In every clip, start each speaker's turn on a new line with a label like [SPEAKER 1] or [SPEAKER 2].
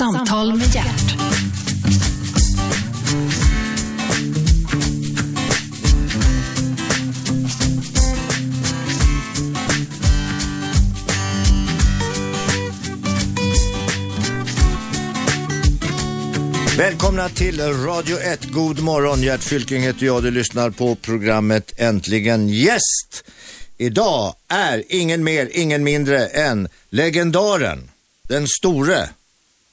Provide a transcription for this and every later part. [SPEAKER 1] Samtal med hjärt.
[SPEAKER 2] Välkomna till Radio 1. God morgon, Gert Fylking heter jag. Du lyssnar på programmet Äntligen gäst. Idag är ingen mer, ingen mindre än legendaren, den store,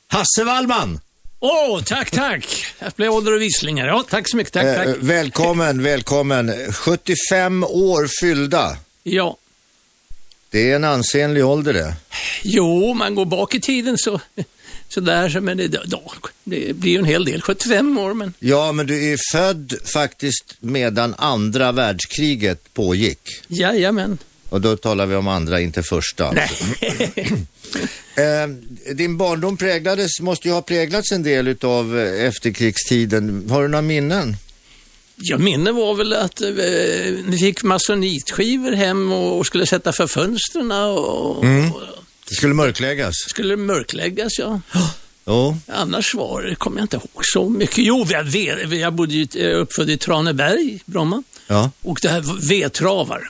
[SPEAKER 2] Hasse Wallman.
[SPEAKER 3] Åh, tack, tack! Jag blev ålder och visslingar. Ja, tack så mycket. Tack,
[SPEAKER 2] Eh,
[SPEAKER 3] tack.
[SPEAKER 2] välkommen, välkommen. 75 år fyllda.
[SPEAKER 3] Ja.
[SPEAKER 2] Det är en ansenlig ålder det.
[SPEAKER 3] Jo, man går bak i tiden så, så där, så- men det, ja, det blir ju en hel del. 75 år, men
[SPEAKER 2] Ja, men du är född faktiskt medan andra världskriget pågick.
[SPEAKER 3] jajamän.
[SPEAKER 2] Och då talar vi om andra, inte första.
[SPEAKER 3] Nej.
[SPEAKER 2] Eh, din barndom präglades, måste ju ha präglats en del utav eh, efterkrigstiden. Har du några minnen?
[SPEAKER 3] Jag minne var väl att eh, vi fick masonitskivor hem och, och skulle sätta för fönstren och,
[SPEAKER 2] Mm.
[SPEAKER 3] och
[SPEAKER 2] Det skulle mörkläggas.
[SPEAKER 3] skulle mörkläggas, ja.
[SPEAKER 2] Jo.
[SPEAKER 3] Annars var det, kommer jag inte ihåg så mycket. Jo, jag, vet, jag bodde ju eh, uppfödd i Traneberg, Bromma.
[SPEAKER 2] Ja.
[SPEAKER 3] Och det här var vedtravar.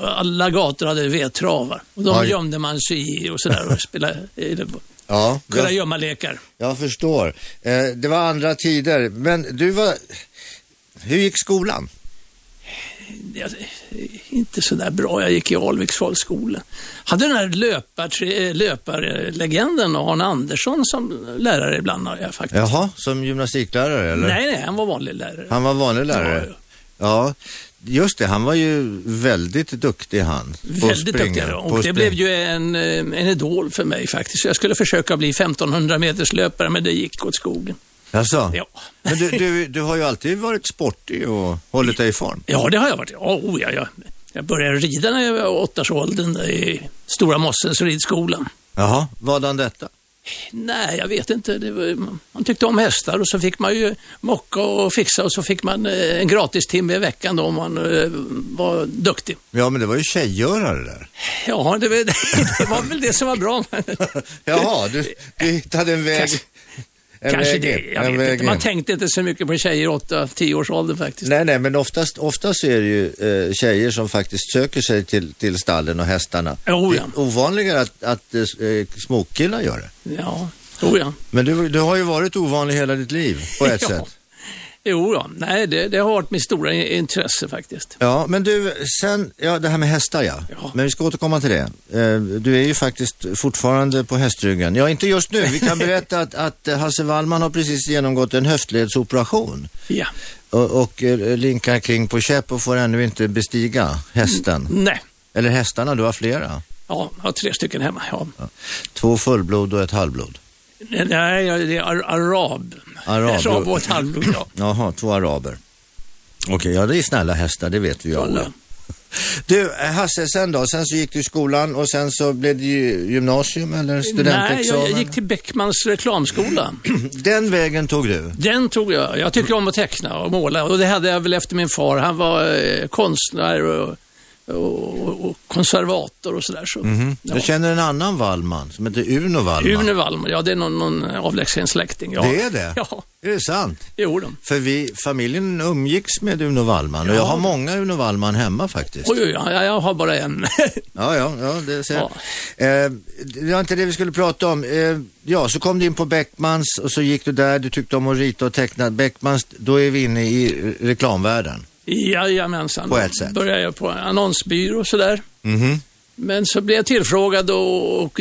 [SPEAKER 3] Alla gator hade vedtravar. Och de
[SPEAKER 2] Oj.
[SPEAKER 3] gömde man sig i och sådär och spelade eller,
[SPEAKER 2] Ja,
[SPEAKER 3] kunna
[SPEAKER 2] jag,
[SPEAKER 3] gömma lekar.
[SPEAKER 2] jag förstår. Eh, det var andra tider, men du var... Hur gick skolan?
[SPEAKER 3] eh, Inte sådär bra. Jag gick i Alviks folkskola. Hade den här löpartre- löparlegenden Arne Andersson som lärare ibland har jag faktiskt.
[SPEAKER 2] Jaha, som gymnastiklärare eller?
[SPEAKER 3] Nej, nej, han var vanlig lärare.
[SPEAKER 2] Han var vanlig lärare?
[SPEAKER 3] Ja,
[SPEAKER 2] Ja, just det. Han var ju väldigt duktig han. på att
[SPEAKER 3] Väldigt
[SPEAKER 2] springa,
[SPEAKER 3] duktig. då.
[SPEAKER 2] på
[SPEAKER 3] Och
[SPEAKER 2] att
[SPEAKER 3] det
[SPEAKER 2] springa.
[SPEAKER 3] blev ju en, eh, en idol för mig faktiskt. Jag skulle försöka bli 1500 meters löpare men det gick åt skogen.
[SPEAKER 2] Jaså?
[SPEAKER 3] Ja.
[SPEAKER 2] Men du, du, du har ju alltid varit sportig och hållit dig i form.
[SPEAKER 3] Ja, det har jag varit. Ja, oh, ja, ja. Jag började rida när jag var åttaårsåldern i Stora Mossens ridskola.
[SPEAKER 2] Jaha, vadan detta?
[SPEAKER 3] Nej, jag vet inte. Det var, man tyckte om hästar och så fick man ju mocka och fixa och så fick man eh, en gratis timme i veckan då om man eh, var duktig.
[SPEAKER 2] Ja, men det var ju tjejgörare där.
[SPEAKER 3] Ja, det, var- det var väl det som var bra.
[SPEAKER 2] Jaha, du, du hittade en väg.
[SPEAKER 3] Kanske-
[SPEAKER 2] en
[SPEAKER 3] Kanske
[SPEAKER 2] väg
[SPEAKER 3] det.
[SPEAKER 2] in,
[SPEAKER 3] Jag
[SPEAKER 2] en
[SPEAKER 3] vet
[SPEAKER 2] väg
[SPEAKER 3] inte. Man
[SPEAKER 2] in.
[SPEAKER 3] tänkte inte så mycket på tjejer i åtta, tioårsåldern faktiskt.
[SPEAKER 2] Nej, nej, men oftast, oftast är det ju eh, tjejer som faktiskt söker sig till, till stallen och hästarna.
[SPEAKER 3] Jo,
[SPEAKER 2] det
[SPEAKER 3] ja.
[SPEAKER 2] är ovanligare att, att eh, småkillar gör det.
[SPEAKER 3] Ja, tror jag.
[SPEAKER 2] Men du, du har ju varit ovanlig hela ditt liv på ett
[SPEAKER 3] Ja.
[SPEAKER 2] sätt.
[SPEAKER 3] Jo, ja. Nej, det, det har varit mitt stora i- intresse faktiskt.
[SPEAKER 2] Ja, men du, sen, ja det här med hästar ja.
[SPEAKER 3] Ja.
[SPEAKER 2] Men vi ska återkomma till det. Eh, Du är ju faktiskt fortfarande på hästryggen. Ja, inte just nu. Vi kan berätta att, att eh, Hasse Wallman har precis genomgått en höftledsoperation.
[SPEAKER 3] Ja.
[SPEAKER 2] Och, och eh, linkar kring på käpp och får ännu inte bestiga hästen.
[SPEAKER 3] Nej.
[SPEAKER 2] Eller hästarna, du har flera.
[SPEAKER 3] Ja, jag har tre stycken hemma. Ja.
[SPEAKER 2] Två fullblod och ett halvblod.
[SPEAKER 3] Nej, jag- det är ar- arab.
[SPEAKER 2] Arab.
[SPEAKER 3] Arab och ett halvblod, ja.
[SPEAKER 2] Jaha, två araber. Okej, ja det är snälla hästar, det vet vi ju alla.
[SPEAKER 3] Ja.
[SPEAKER 2] Du, eh, Hasse, sen då? Sen så gick du i skolan och sen så blev det ju gymnasium eller
[SPEAKER 3] Nej,
[SPEAKER 2] studentexamen?
[SPEAKER 3] jag jag gick till Beckmans reklamskola.
[SPEAKER 2] Den vägen tog du?
[SPEAKER 3] Den tog jag. Jag tycker om att teckna och måla och det hade jag väl efter min far. Han var eh, konstnär och, och, och konservator och sådär. Så, ja.
[SPEAKER 2] Jag Mhm. känner en annan Wallman som heter Uno Wallman.
[SPEAKER 3] Rune Wallman, ja det är någon, någon avlägsen släkting. Ja.
[SPEAKER 2] Det är det?
[SPEAKER 3] Ja,
[SPEAKER 2] Är det sant?
[SPEAKER 3] jo då.
[SPEAKER 2] För vi, familjen umgicks med Uno Wallman och jag har många Uno Wallman hemma faktiskt.
[SPEAKER 3] Oj, oj, oj, jag har bara en.
[SPEAKER 2] Ja, ja, ja, det ser jag. Eh, det var inte det vi skulle prata om. Eh, ja, så kom du in på Beckmans och så gick du där, du tyckte om att rita och teckna. Beckmans, då är vi inne i eh, reklamvärlden.
[SPEAKER 3] Jajamensan.
[SPEAKER 2] På ett sätt.
[SPEAKER 3] Började jag på annonsbyrå och sådär. Men så blev jag tillfrågad att att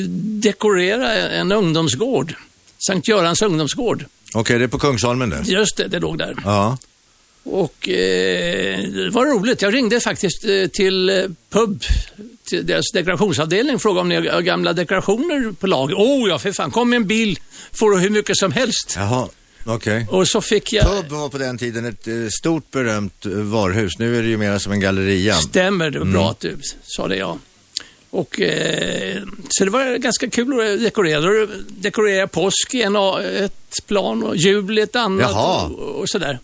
[SPEAKER 3] dekorera en ungdomsgård. Sankt Görans ungdomsgård.
[SPEAKER 2] Okej, det är på Kungsholmen det.
[SPEAKER 3] Just det, det låg där.
[SPEAKER 2] Ja.
[SPEAKER 3] Och eh, det var roligt. Jag ringde faktiskt eh, till eh, pub, till deras dekorationsavdelning och frågade om ni har gamla dekorationer på lager. Åh oh, ja, för fan, kom med en bil, får du hur mycket som helst.
[SPEAKER 2] Jaha, okej.
[SPEAKER 3] Och så fick jag...
[SPEAKER 2] Pub var på den tiden ett eh, stort berömt eh, varhus. Nu är det ju mera som en galleria.
[SPEAKER 3] Stämmer, det var bra
[SPEAKER 2] Mm.
[SPEAKER 3] att du sa det, ja. Och, eh, så det var ganska kul att dekorera. Då Dekorera påsk i en, ett plan och jul i ett annat
[SPEAKER 2] Jaha.
[SPEAKER 3] och, och sådär.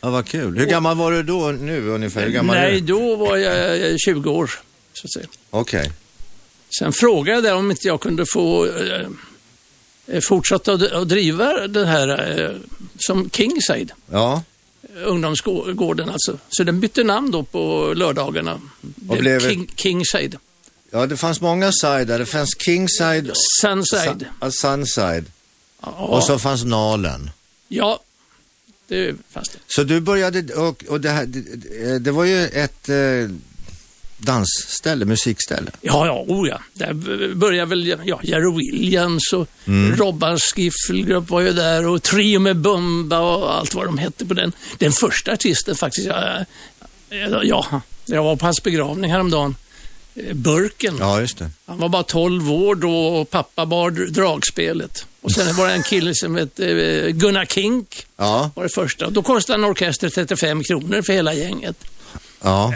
[SPEAKER 2] Ja, vad kul. Hur gammal var du då nu ungefär? Hur gammal är
[SPEAKER 3] Nej,
[SPEAKER 2] du?
[SPEAKER 3] då var jag eh, 20 år. Så att säga.
[SPEAKER 2] Okej.
[SPEAKER 3] Sen frågade jag om inte jag kunde få eh, eh, fortsatte att, att driva den här eh, som Kingside,
[SPEAKER 2] Ja,
[SPEAKER 3] ungdomsgården alltså. Så den bytte namn då på lördagarna. Det
[SPEAKER 2] blev-
[SPEAKER 3] King, Kingside.
[SPEAKER 2] ja det fanns många side där. Det fanns Kingside och
[SPEAKER 3] Sunside.
[SPEAKER 2] Sun- och Sunside.
[SPEAKER 3] Ja,
[SPEAKER 2] Och så fanns Nalen.
[SPEAKER 3] ja, det fanns det.
[SPEAKER 2] Så du började, och, och det, här, det, det var ju ett eh, dansställe, musikställe.
[SPEAKER 3] Ja, ja, oh ja. Där b- började väl ja, Jerry Williams och Robban Skiffelgrupp var ju där och Trio med Bumba och allt vad de hette på den. Den första artisten faktiskt, ja, eh, ja jag var på hans begravning häromdagen. Eh, Burken.
[SPEAKER 2] Ja, just det.
[SPEAKER 3] Han var bara 12 år då och pappa bar dr- dragspelet. Och sen var det en kille som hette eh, Gunnar Kink,
[SPEAKER 2] Ja,
[SPEAKER 3] var det första. Då kostade en orkester 35 kronor för hela gänget.
[SPEAKER 2] ja.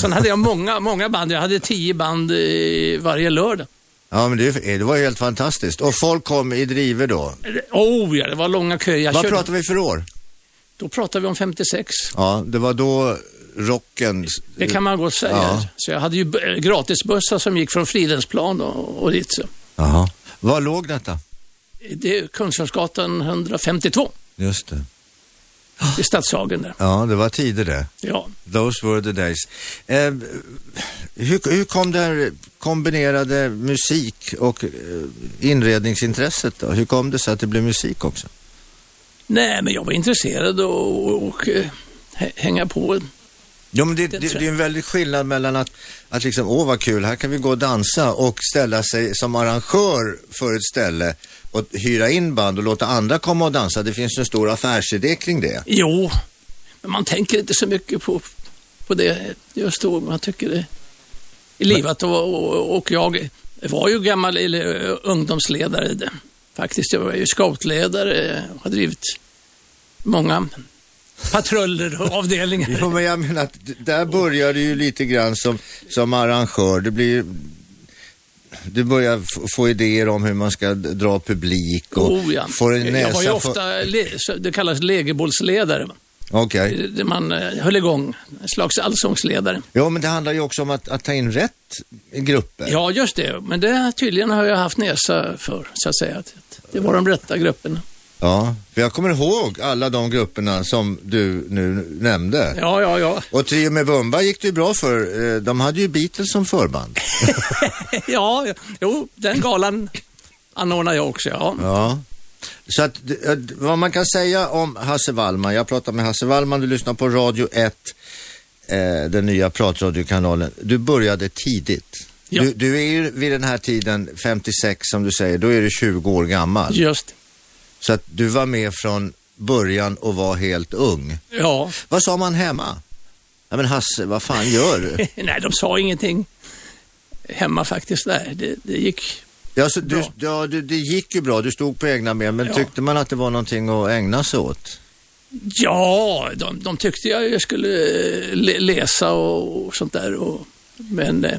[SPEAKER 3] Sen hade jag många, många band. Jag hade 10 band eh, varje lördag.
[SPEAKER 2] Ja, men det, det var ju helt fantastiskt. Och folk kom i driver då.
[SPEAKER 3] Oh ja, det var långa köer. Jag
[SPEAKER 2] Vad
[SPEAKER 3] körde,
[SPEAKER 2] pratar vi för år?
[SPEAKER 3] Då pratar vi om 56.
[SPEAKER 2] Ja, det var då rocken...
[SPEAKER 3] Det kan man gott säga.
[SPEAKER 2] Ja.
[SPEAKER 3] Så jag hade ju b- eh, gratisbussar som gick från Fridhemsplan och, och dit. Så.
[SPEAKER 2] Jaha. Var låg detta?
[SPEAKER 3] Det är Kungsholmsgatan 152
[SPEAKER 2] Just det.
[SPEAKER 3] i Stadshagen där.
[SPEAKER 2] Ja, det var tider det.
[SPEAKER 3] Ja.
[SPEAKER 2] Those were the days. Eh, hur, hur kom det här kombinerade musik och eh, inredningsintresset då? Hur kom det sig att det blev musik också?
[SPEAKER 3] Nej, men jag var intresserad och, och, och eh, hä- hänga på.
[SPEAKER 2] Jo, men det,
[SPEAKER 3] Det
[SPEAKER 2] det, det
[SPEAKER 3] tror
[SPEAKER 2] är en väldig skillnad mellan att, att liksom, åh vad kul, här kan vi gå och dansa och ställa sig som arrangör för ett ställe och hyra in band och låta andra komma och dansa. Det finns en stor affärsidé kring det.
[SPEAKER 3] Jo, men man tänker inte så mycket på, på det just då. Man tycker det i livet och, och, och jag var ju gammal eller, eh, ungdomsledare det. faktiskt. Jag var ju scoutledare och har drivit många patruller och avdelningar.
[SPEAKER 2] Jo, men jag menar att d- där börjar du ju lite grann som, som arrangör. Det blir, du börjar f- få idéer om hur man ska d- dra publik och
[SPEAKER 3] Oh, ja.
[SPEAKER 2] får en näsa
[SPEAKER 3] Jag var ju
[SPEAKER 2] för...
[SPEAKER 3] ofta, le, så- det kallas lägerbollsledare.
[SPEAKER 2] Okej.
[SPEAKER 3] Det Man eh, höll igång, en slags allsångsledare.
[SPEAKER 2] Jo, men det handlar ju också om att, att ta in rätt grupper.
[SPEAKER 3] Ja, just det. Men det tydligen har jag haft näsa för, så att säga. Att Det var de rätta grupperna.
[SPEAKER 2] Ja, för jag kommer ihåg alla de grupperna som du nu nämnde.
[SPEAKER 3] Ja, ja, ja.
[SPEAKER 2] Och Trio med Bumba gick det ju bra för. Eh, De hade ju Beatles som förband.
[SPEAKER 3] ja, ja. jo, den galan anordnade jag också, ja.
[SPEAKER 2] Ja. Så att, eh, vad man kan säga om Hasse Wallman, jag pratar med Hasse Wallman, du lyssnar på Radio 1, eh, den nya pratradiokanalen. Du började tidigt.
[SPEAKER 3] Ja.
[SPEAKER 2] Du, du är ju vid den här tiden, 56 som du säger, då är du 20 år gammal.
[SPEAKER 3] Just
[SPEAKER 2] Så att du var med från början och var helt ung.
[SPEAKER 3] Ja,
[SPEAKER 2] Vad sa man hemma? Ja men Hasse, vad fan gör du?
[SPEAKER 3] nej, de sa ingenting hemma faktiskt. Nej, det, det gick.
[SPEAKER 2] Ja, så du,
[SPEAKER 3] Bra.
[SPEAKER 2] ja, du, det gick ju bra, du stod på egna ben, men
[SPEAKER 3] Ja.
[SPEAKER 2] tyckte man att det var någonting att ägna sig åt?
[SPEAKER 3] Ja, de, de tyckte jag ju skulle eh, le, läsa och, och sånt där. Och, men eh,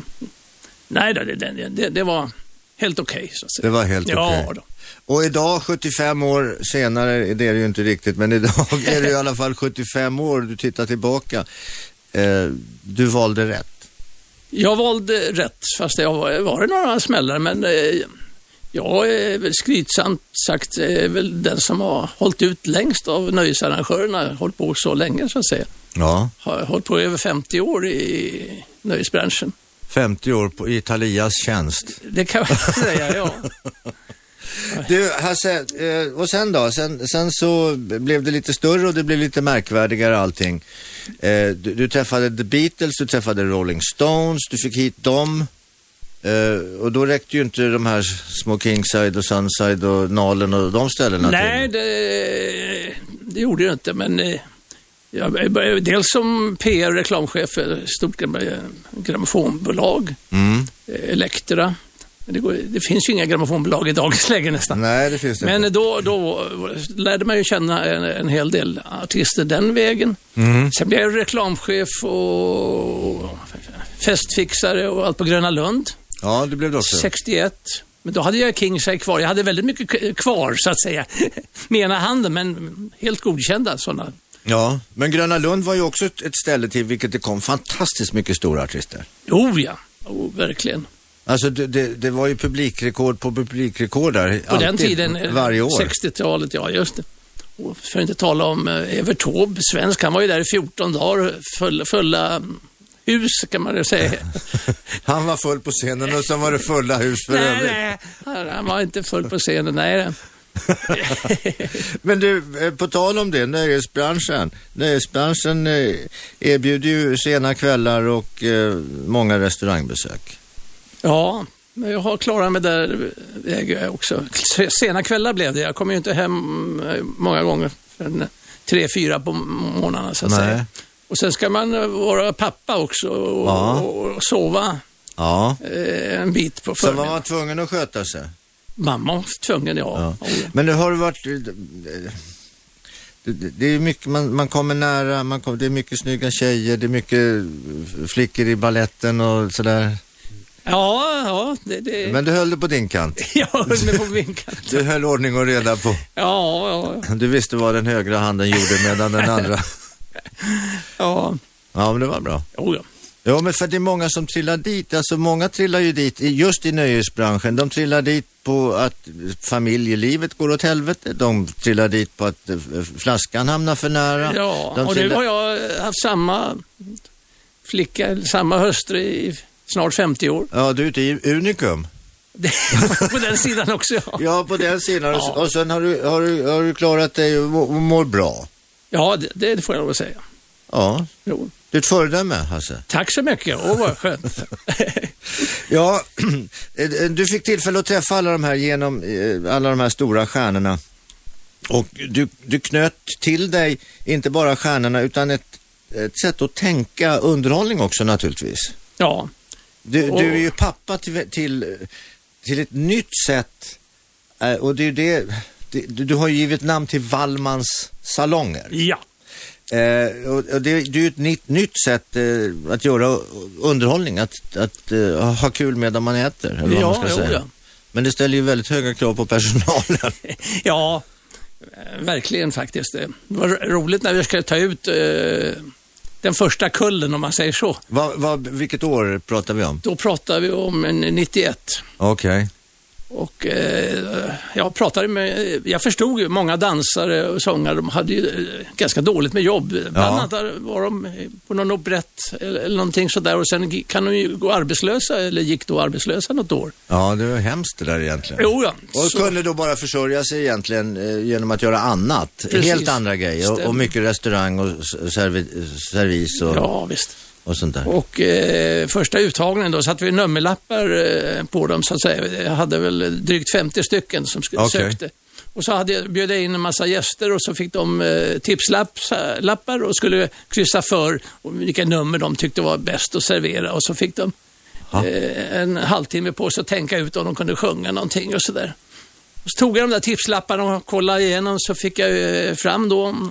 [SPEAKER 3] nej, då, det, det, det, det var helt okej, så att säga.
[SPEAKER 2] Det var helt
[SPEAKER 3] ja,
[SPEAKER 2] okej.
[SPEAKER 3] Då.
[SPEAKER 2] Och idag, 75 år senare, det är det ju inte riktigt, men idag är det i alla fall 75 år, du tittar tillbaka. Eh, du valde rätt.
[SPEAKER 3] Jag valde rätt, fast jag var, var det några smällar, men eh, jag är väl skrytsamt sagt eh, väl den som har hållit ut längst av nöjesarrangörerna, hållit på så länge så att säga.
[SPEAKER 2] Ja.
[SPEAKER 3] Har hållit på i över 50 år i nöjesbranschen.
[SPEAKER 2] 50 år på, i Thalias tjänst.
[SPEAKER 3] Det kan man säga, ja.
[SPEAKER 2] Du Hasse, eh, och sen då? Sen, sen så blev det lite större och det blev lite märkvärdigare allting. Eh, du, du träffade The Beatles, du träffade Rolling Stones, du fick hit dem. Eh, och då räckte ju inte de här små Kingside och Sunside och Nalen och de ställena
[SPEAKER 3] Nej,
[SPEAKER 2] till.
[SPEAKER 3] det, det gjorde jag inte, men eh, jag började, dels som PR och reklamchef för ett stort gram- grammofonbolag,
[SPEAKER 2] Mm.
[SPEAKER 3] eh, Elektra. Men det, går, det finns ju inga grammofonbolag i dagens läge nästan.
[SPEAKER 2] Nej, det finns det inte.
[SPEAKER 3] Men då, då lärde man ju känna en, en hel del artister den vägen. Sen blev jag reklamchef och festfixare och allt på Gröna Lund,
[SPEAKER 2] Ja, det blev det också.
[SPEAKER 3] 61. Men då hade jag Kingside kvar. Jag hade väldigt mycket k- kvar, så att säga, med ena handen, men helt godkända sådana.
[SPEAKER 2] Ja, men Gröna Lund var ju också ett, ett ställe till vilket det kom fantastiskt mycket stora artister.
[SPEAKER 3] Jo, ja. Oh, verkligen.
[SPEAKER 2] Alltså det, det, det var ju publikrekord på publikrekord där.
[SPEAKER 3] På den tiden, eh,
[SPEAKER 2] Varje år.
[SPEAKER 3] 60-talet, ja just det. Och för att inte tala om eh, Evert Taube, svensk, han var ju där i 14 dagar, full, fulla mm, hus kan man väl säga.
[SPEAKER 2] Han var full på scenen och sen var det fulla hus för
[SPEAKER 3] nej,
[SPEAKER 2] övrigt.
[SPEAKER 3] nej, han han var inte full på scenen, nej.
[SPEAKER 2] Men du, eh, på tal om det, nöjesbranschen. Nöjesbranschen eh, erbjuder ju sena kvällar och eh, många restaurangbesök.
[SPEAKER 3] Ja, men jag har klarat mig där väger jag också. Se- Sena kvällar blev det. Jag kommer ju inte hem eh, många gånger förrän tre, fyra på morgnarna så att
[SPEAKER 2] Nej.
[SPEAKER 3] säga. Och sen ska man eh, vara pappa också och,
[SPEAKER 2] Ja.
[SPEAKER 3] och, och sova
[SPEAKER 2] Ja.
[SPEAKER 3] eh, en bit på
[SPEAKER 2] Sen var
[SPEAKER 3] förmiddagen.
[SPEAKER 2] man tvungen att sköta sig.
[SPEAKER 3] Mamma var tvungen, ja.
[SPEAKER 2] Ja.
[SPEAKER 3] ja. ja.
[SPEAKER 2] Men det har varit... eh, Det, det- det är mycket, man, man kommer nära, man kommer, det är mycket snygga tjejer, det är mycket eh, flickor i balletten och sådär.
[SPEAKER 3] Ja, det, det...
[SPEAKER 2] Men du höll det på din kant.
[SPEAKER 3] Jag höll mig på vinkeln.
[SPEAKER 2] Du höll ordning och reda på.
[SPEAKER 3] Ja, ja,
[SPEAKER 2] Du visste vad den högra handen gjorde medan den andra...
[SPEAKER 3] ja.
[SPEAKER 2] Ja, men det var bra.
[SPEAKER 3] Jo, ja.
[SPEAKER 2] Ja, men för det är många som trillar dit. Alltså många trillar ju dit i- just i nöjesbranschen. De trillar dit på att familjelivet går åt helvete. De trillar dit på att eh, flaskan hamnar för nära.
[SPEAKER 3] Ja,
[SPEAKER 2] De
[SPEAKER 3] och nu
[SPEAKER 2] trillar-
[SPEAKER 3] har jag haft samma flicka, eller samma hustru i snart 50 år.
[SPEAKER 2] Ja, du är ute i Unikum.
[SPEAKER 3] Det- på den sidan också, ja.
[SPEAKER 2] Ja, på den sidan.
[SPEAKER 3] Ja.
[SPEAKER 2] Och sen har du, har, du, har du klarat dig och må- och mår bra.
[SPEAKER 3] Ja, det, det får jag lov att säga.
[SPEAKER 2] Ja,
[SPEAKER 3] Jo.
[SPEAKER 2] du är ett föredöme, Hasse.
[SPEAKER 3] Tack så mycket, åh vad skönt.
[SPEAKER 2] Ja, eh, du fick tillfälle att träffa alla de här genom eh, alla de här stora stjärnorna. Och du, du knöt till dig inte bara stjärnorna utan ett, ett sätt att tänka underhållning också naturligtvis.
[SPEAKER 3] ja,
[SPEAKER 2] Du,
[SPEAKER 3] Och-
[SPEAKER 2] du är ju pappa till, till, till ett nytt sätt eh, och det är ju det, det, du du har ju givit namn till Wallmans salonger.
[SPEAKER 3] ja.
[SPEAKER 2] Eh, och, och det, det är ju ett nytt, nytt sätt eh, att göra underhållning, att, att eh, ha kul medan man äter. Eller vad
[SPEAKER 3] Ja,
[SPEAKER 2] man ska
[SPEAKER 3] jo,
[SPEAKER 2] säga.
[SPEAKER 3] ja.
[SPEAKER 2] Men det ställer ju väldigt höga krav på personalen.
[SPEAKER 3] Ja, eh, verkligen faktiskt. Det var ro- roligt när vi skulle ta ut eh, den första kullen, om man säger så.
[SPEAKER 2] vad, vad, vilket år pratar vi om?
[SPEAKER 3] Då pratade vi om en 91.
[SPEAKER 2] Okej.
[SPEAKER 3] Och eh, jag pratade med, jag förstod ju många dansare och sångare, de hade ju eh, ganska dåligt med jobb. Bland annat där var de på någon operett eller, eller någonting sådär och sen gi- kan de ju gå arbetslösa eller gick då arbetslösa något år.
[SPEAKER 2] Ja, det var hemskt det där egentligen.
[SPEAKER 3] Jo, ja.
[SPEAKER 2] Och
[SPEAKER 3] Så-
[SPEAKER 2] kunde då bara försörja sig egentligen eh, genom att göra annat.
[SPEAKER 3] Precis.
[SPEAKER 2] Helt andra grejer och, och
[SPEAKER 3] Stämmer.
[SPEAKER 2] mycket restaurang och s- servi, servis och,
[SPEAKER 3] Ja, visst.
[SPEAKER 2] och sånt där.
[SPEAKER 3] Och eh, första uttagningen då satte vi nummerlappar eh, på dem så att säga. Jag hade väl drygt 50 stycken som sk-
[SPEAKER 2] Okej.
[SPEAKER 3] sökte. Och så hade jag, bjöd jag in en massa gäster och så fick de eh, tipslappar och skulle kryssa för och vilka nummer de tyckte var bäst att servera. Och så fick de
[SPEAKER 2] Ja.
[SPEAKER 3] eh, en halvtimme på sig att tänka ut om de kunde sjunga någonting och sådär. Och Så tog jag de där tipslapparna och kollade igenom så fick jag eh, fram då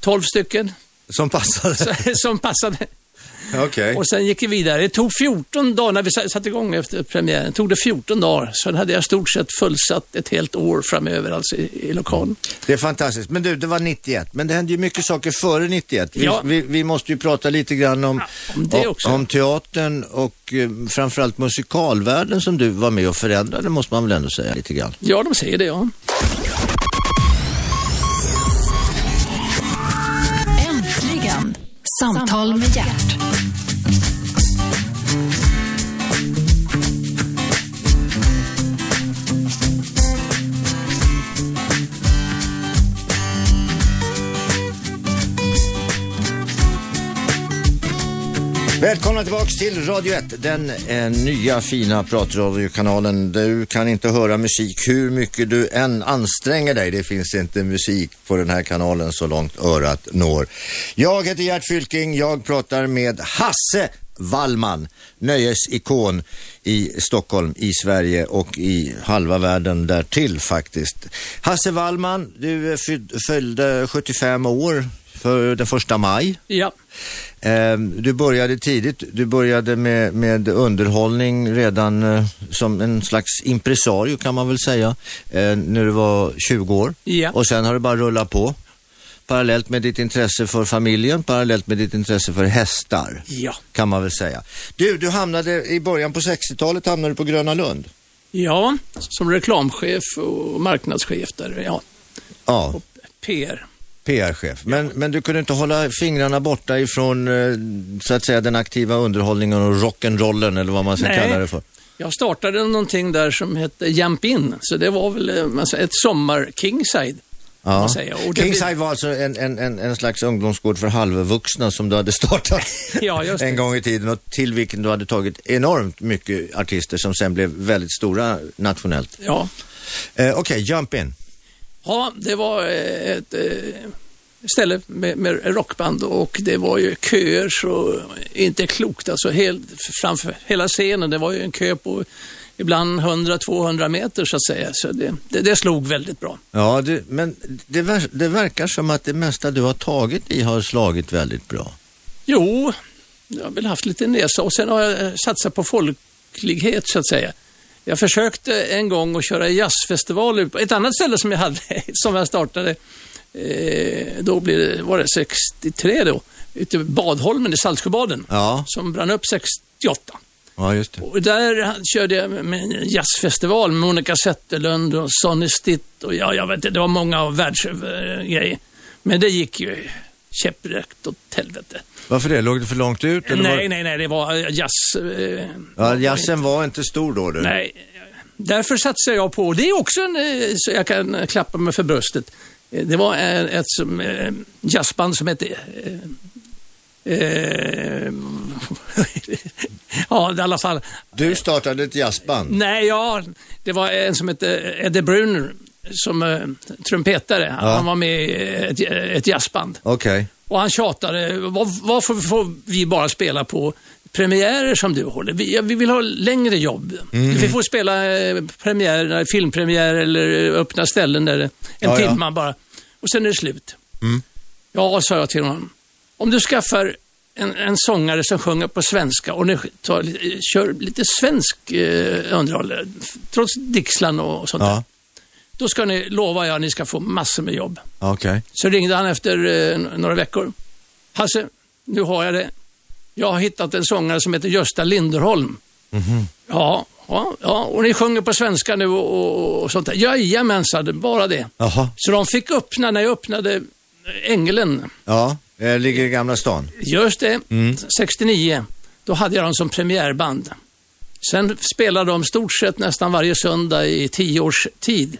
[SPEAKER 3] 12 stycken
[SPEAKER 2] Som passade.
[SPEAKER 3] som passade.
[SPEAKER 2] Okej.
[SPEAKER 3] Och sen gick vi vidare. Det tog 14 dagar, när vi sa- satte igång efter premiären, tog det 14 dagar. Sen hade jag stort sett fullsatt ett helt år framöver alltså i, i lokalen.
[SPEAKER 2] Det är fantastiskt. Men du, det var 91. Men det hände ju mycket saker före 91. Vi,
[SPEAKER 3] Ja.
[SPEAKER 2] vi, vi måste ju prata lite grann om,
[SPEAKER 3] om det också.
[SPEAKER 2] om teatern och eh, framförallt musikalvärlden som du var med och förändrade, måste man väl ändå säga lite grann.
[SPEAKER 3] Ja, de säger det ja.
[SPEAKER 1] Äntligen! Samtal med hjärt.
[SPEAKER 2] Välkomna tillbaka till Radio 1, den eh, nya fina pratradiokanalen. Du kan inte höra musik hur mycket du än anstränger dig. Det finns inte musik på den här kanalen så långt örat når. Jag heter Gert Fylking, jag pratar med Hasse Wallman, nöjesikon i Stockholm, i Sverige och i halva världen därtill faktiskt. Hasse Wallman, du eh, fyd- följde 75 år för den första maj.
[SPEAKER 3] Ja,
[SPEAKER 2] Eh, Du började tidigt, du började med, med underhållning redan eh, som en slags impresario kan man väl säga, eh, när du var 20 år.
[SPEAKER 3] Ja.
[SPEAKER 2] Och sen har det bara rullat på. parallellt med ditt intresse för familjen, parallellt med ditt intresse för hästar,
[SPEAKER 3] Ja.
[SPEAKER 2] kan man väl säga. Du, du hamnade i början på 60-talet hamnade du på Gröna Lund.
[SPEAKER 3] ja, som reklamchef och marknadschef där, ja,
[SPEAKER 2] Ja,
[SPEAKER 3] PR.
[SPEAKER 2] PR-chef. Men, men du kunde inte hålla fingrarna borta ifrån eh, så att säga den aktiva underhållningen och rock'n'rollen eller vad man ska
[SPEAKER 3] Nej.
[SPEAKER 2] kalla det för.
[SPEAKER 3] Jag startade någonting där som hette Jump In, så det var väl eh, man säger, ett sommar-kingside.
[SPEAKER 2] Ja.
[SPEAKER 3] man säga. Och det-
[SPEAKER 2] Kingside var alltså en, en, en, en slags ungdomsgård för halvvuxna som du hade startat
[SPEAKER 3] Ja, just det.
[SPEAKER 2] en gång i tiden och till vilken du hade tagit enormt mycket artister som sen blev väldigt stora nationellt.
[SPEAKER 3] Ja.
[SPEAKER 2] Eh, Okej, jump in.
[SPEAKER 3] ja, det var eh, ett eh, ställe med, med rockband och det var ju köer så inte klokt. Alltså helt, framför hela scenen, det var ju en kö på ibland 100-200 meter så att säga. Så det, det, det slog väldigt bra.
[SPEAKER 2] Ja, det, men det, ver- det verkar som att det mesta du har tagit i har slagit väldigt bra.
[SPEAKER 3] Jo, jag har väl haft lite näsa och sen har jag eh, satsat på folklighet så att säga. Jag försökte en gång att köra jazzfestivaler på ett annat ställe som jag hade, som jag startade. Eh, då blev det, var det 63 då, ute på Badholmen i Saltsjöbaden,
[SPEAKER 2] Ja,
[SPEAKER 3] som brann upp 68.
[SPEAKER 2] ja just det.
[SPEAKER 3] Och där körde jag med en jazzfestival med Monica Zetterlund och Sonny Stitt och ja, jag vet inte, det var många av världsgrejer. Men det gick ju käpprätt åt helvete.
[SPEAKER 2] Varför det? Låg det för långt ut? eller var...
[SPEAKER 3] Nej, nej, nej, det var eh, jazz. eh,
[SPEAKER 2] Ja, jazzen var inte stor då du.
[SPEAKER 3] Nej, därför satsar jag på, det är också en, eh, så jag kan eh, klappa mig för bröstet. Eh, Det var eh, ett som, eh, jazzband som hette... eh, eh, ja, i alla fall.
[SPEAKER 2] Du startade ett jazzband.
[SPEAKER 3] Nej, ja, det var en som hette eh, Eddie Brunner som eh, trumpetare. Han,
[SPEAKER 2] Ja.
[SPEAKER 3] han var med i ett, ett jazzband.
[SPEAKER 2] Okej.
[SPEAKER 3] Och han tjatade, "Var- varför får vi bara spela på premiärer som du håller? Vi, ja, vi vill ha längre jobb.
[SPEAKER 2] Mm.
[SPEAKER 3] Vi får spela eh, premiärer, filmpremiärer eller eh, öppna ställen där det- en
[SPEAKER 2] Ja, Mm. ja.
[SPEAKER 3] timma bara. Och sen är det slut. Ja, sa jag till honom. Om du skaffar en, en sångare som sjunger på svenska och ni tar, li- kör lite svensk eh, underhåll, trots Dixlan och sånt där.
[SPEAKER 2] Ja,
[SPEAKER 3] Då ska ni, lovar jag, ni ska få massor med jobb.
[SPEAKER 2] okej.
[SPEAKER 3] Så ringde han efter eh, n- några veckor. Hasse, nu har jag det. Jag har hittat en sångare som heter Gösta Linderholm.
[SPEAKER 2] Mhm.
[SPEAKER 3] Ja, ja, ja, och ni sjunger på svenska nu och, och, och sånt där. Jajamensan, bara det.
[SPEAKER 2] Jaha.
[SPEAKER 3] Så de fick öppna, när jag öppnade eh, Ängelen,
[SPEAKER 2] Ja, eh, ligger i Gamla stan.
[SPEAKER 3] just det,
[SPEAKER 2] Mm.
[SPEAKER 3] 69, då hade jag dem som premiärband. Sen spelade de stort sett nästan varje söndag i tio års tid.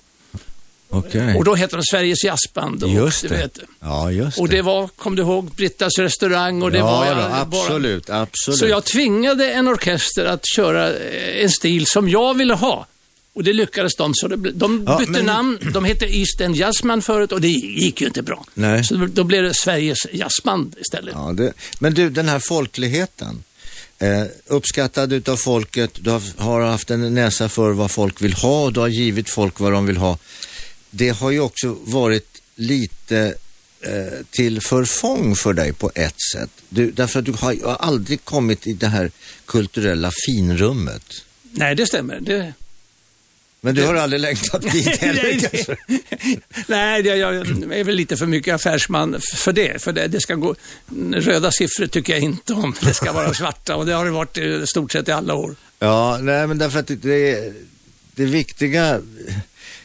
[SPEAKER 2] Okej.
[SPEAKER 3] Och då hette de Sveriges jazzband. Och,
[SPEAKER 2] Mm. Just
[SPEAKER 3] du
[SPEAKER 2] det.
[SPEAKER 3] vet,
[SPEAKER 2] Ja, just
[SPEAKER 3] och det
[SPEAKER 2] det.
[SPEAKER 3] var, kom du ihåg, Brittas restaurang och det
[SPEAKER 2] ja,
[SPEAKER 3] var jag.
[SPEAKER 2] då,
[SPEAKER 3] bara-
[SPEAKER 2] absolut, absolut.
[SPEAKER 3] Så jag tvingade en orkester att köra eh, en stil som jag ville ha. Och det lyckades de, så det, ble- de
[SPEAKER 2] Ja,
[SPEAKER 3] bytte
[SPEAKER 2] men-
[SPEAKER 3] namn. De hette East End Jazzman förut och det gick ju inte bra.
[SPEAKER 2] Nej.
[SPEAKER 3] Så då blev det Sveriges Jazzband istället.
[SPEAKER 2] Ja, det... Men du, den här folkligheten. Eh, uppskattad utav folket, du har, har haft en näsa för vad folk vill ha och du har givit folk vad de vill ha. Det har ju också varit lite eh, till förfång för dig på ett sätt. Du, därför att du har ju aldrig kommit i det här kulturella finrummet.
[SPEAKER 3] Nej, det stämmer. Det...
[SPEAKER 2] Men du har aldrig längtat dit heller
[SPEAKER 3] Nej,
[SPEAKER 2] kanske?
[SPEAKER 3] Nej, det- jag är väl lite för mycket affärsman f- för det. För det, det ska gå, röda siffror tycker jag inte om. Det ska vara svarta och det har det varit i stort sett i alla år.
[SPEAKER 2] Ja, nej men därför att det- det, det viktiga,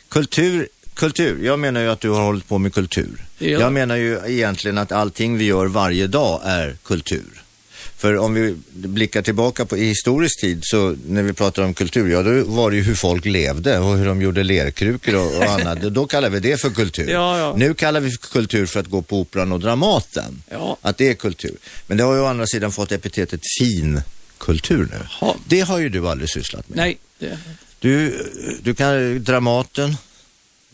[SPEAKER 2] kultur, kultur, jag menar ju att du har hållit på med kultur.
[SPEAKER 3] Ja.
[SPEAKER 2] Jag menar ju egentligen att allting vi gör varje dag är kultur. För om vi blickar tillbaka på i historisk tid så när vi pratar om kultur, ja då var det ju hur folk levde och hur de gjorde lerkrukor och, och annat. Då kallar vi det för kultur.
[SPEAKER 3] Ja, ja.
[SPEAKER 2] Nu kallar vi för kultur för att gå på Operan och Dramaten.
[SPEAKER 3] Ja.
[SPEAKER 2] Att det är kultur. Men det har ju å andra sidan fått epitetet fin kultur nu.
[SPEAKER 3] Ja.
[SPEAKER 2] Det har ju du aldrig sysslat med.
[SPEAKER 3] Nej, det...
[SPEAKER 2] Du, du kan Dramaten,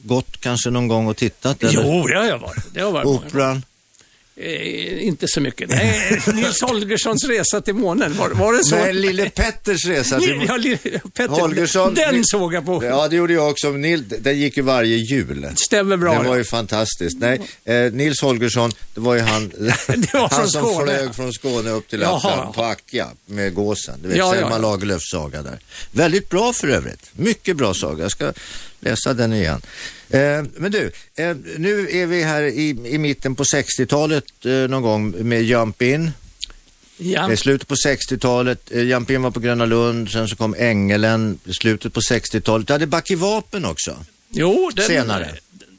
[SPEAKER 2] gått kanske någon gång och tittat? Eller?
[SPEAKER 3] Jo, det har jag varit. Det har jag varit många gånger.
[SPEAKER 2] Operan?
[SPEAKER 3] eh, inte så mycket. Nej, Nils Holgerssons resa till månen, var, var det så?
[SPEAKER 2] Nej, Lille Petters resa till...
[SPEAKER 3] Ja, Lille- Petter,
[SPEAKER 2] Holgersson-
[SPEAKER 3] den
[SPEAKER 2] Ni-
[SPEAKER 3] såg jag på.
[SPEAKER 2] Ja, det gjorde jag också. Nil, den gick ju varje jul.
[SPEAKER 3] Stämmer bra.
[SPEAKER 2] Det var
[SPEAKER 3] ja.
[SPEAKER 2] ju fantastiskt. Nej, eh, Nils Holgersson, det var ju han,
[SPEAKER 3] var
[SPEAKER 2] han
[SPEAKER 3] från
[SPEAKER 2] som
[SPEAKER 3] Skåne.
[SPEAKER 2] flög från Skåne upp till
[SPEAKER 3] Jaha.
[SPEAKER 2] Lappland på Akka med gåsen. Du vet,
[SPEAKER 3] Ja, ja,
[SPEAKER 2] Selma
[SPEAKER 3] ja.
[SPEAKER 2] Lagerlöfs saga där. Väldigt bra för övrigt. Mycket bra saga. Jag ska läsa den igen. Eh, men du, eh, nu är vi här i, i mitten på 60-talet eh, någon gång med Jump In.
[SPEAKER 3] Ja.
[SPEAKER 2] Det är slutet på 60-talet, eh, Jump In var på Gröna Lund, sen så kom Ängelen, slutet på 60-talet. Du hade Back i vapen också.
[SPEAKER 3] Jo, den,
[SPEAKER 2] Senare.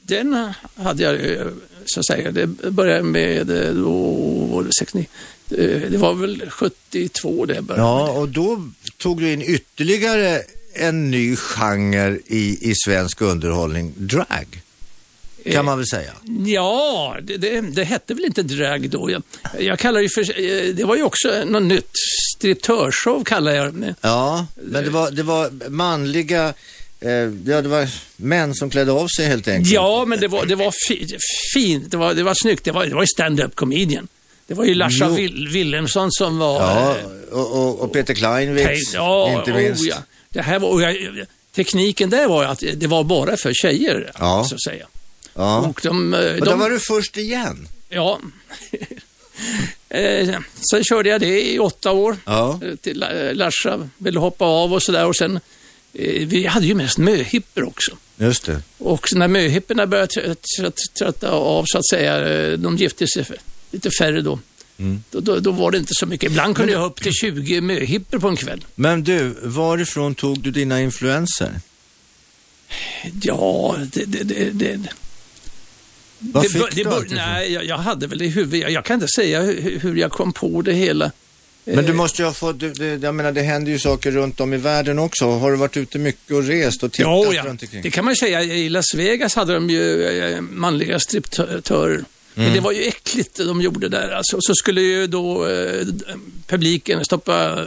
[SPEAKER 3] den hade jag, eh, så att säga, det började med eh, då, 69, eh, det var väl 72 det började.
[SPEAKER 2] Ja, och då tog du in ytterligare en ny genre i, i svensk underhållning, drag. Kan man väl
[SPEAKER 3] Eh.
[SPEAKER 2] säga.
[SPEAKER 3] Ja, det, det, det hette väl inte drag då. Jag, jag kallar det ju för, eh, det var ju också något nytt, striptörshow kallar jag det.
[SPEAKER 2] Ja, men det var, det var manliga, eh, ja det var män som klädde av sig helt enkelt.
[SPEAKER 3] Ja, men det var, det var fi, fint, det var, det var snyggt, det var, det var ju stand-up comedian. Det var ju Larsa
[SPEAKER 2] Jo.
[SPEAKER 3] Vil, Wilhelmsson som var...
[SPEAKER 2] Ja,
[SPEAKER 3] eh,
[SPEAKER 2] och, och, och Peter Kleinwitz,
[SPEAKER 3] Hej- ja,
[SPEAKER 2] inte minst.
[SPEAKER 3] Oh, ja. Det här var, och jag, tekniken där var ju att det var bara för tjejer,
[SPEAKER 2] Ja.
[SPEAKER 3] så att säga.
[SPEAKER 2] Ja.
[SPEAKER 3] Och de, eh,
[SPEAKER 2] Och där
[SPEAKER 3] de
[SPEAKER 2] var du först igen.
[SPEAKER 3] ja. Eh, Sen körde jag det i åtta år.
[SPEAKER 2] Ja.
[SPEAKER 3] Eh, Till eh, Larsa ville hoppa av och sådär. Och sen, eh, vi hade ju mest möhippor också.
[SPEAKER 2] Just det.
[SPEAKER 3] Och när möhipporna började trö- trö- trötta av så att säga, eh, de gifte sig för- lite färre då.
[SPEAKER 2] Mm.
[SPEAKER 3] Då, då. Då var det inte så mycket. Ibland kunde jag ha upp till 20 möhippor på en kväll.
[SPEAKER 2] Men du, varifrån tog du dina influenser?
[SPEAKER 3] Ja, det... det, det, det.
[SPEAKER 2] Vad
[SPEAKER 3] det,
[SPEAKER 2] fick
[SPEAKER 3] bör- det
[SPEAKER 2] du
[SPEAKER 3] bör-
[SPEAKER 2] allt ifrån?
[SPEAKER 3] Nej, jag, jag hade väl i huvudet. Jag, jag kan inte säga hur, hur jag kom på det hela.
[SPEAKER 2] Men du måste ju ha fått, du, du, jag menar det händer ju saker runt om i världen också. Har du varit ute mycket och rest och tittat
[SPEAKER 3] Jo,
[SPEAKER 2] runt omkring?
[SPEAKER 3] oh Det kan man ju säga. I Las Vegas hade de ju eh, manliga striptörer.
[SPEAKER 2] Mm.
[SPEAKER 3] Men det var ju äckligt det de gjorde där. Alltså, så skulle ju då eh, publiken stoppa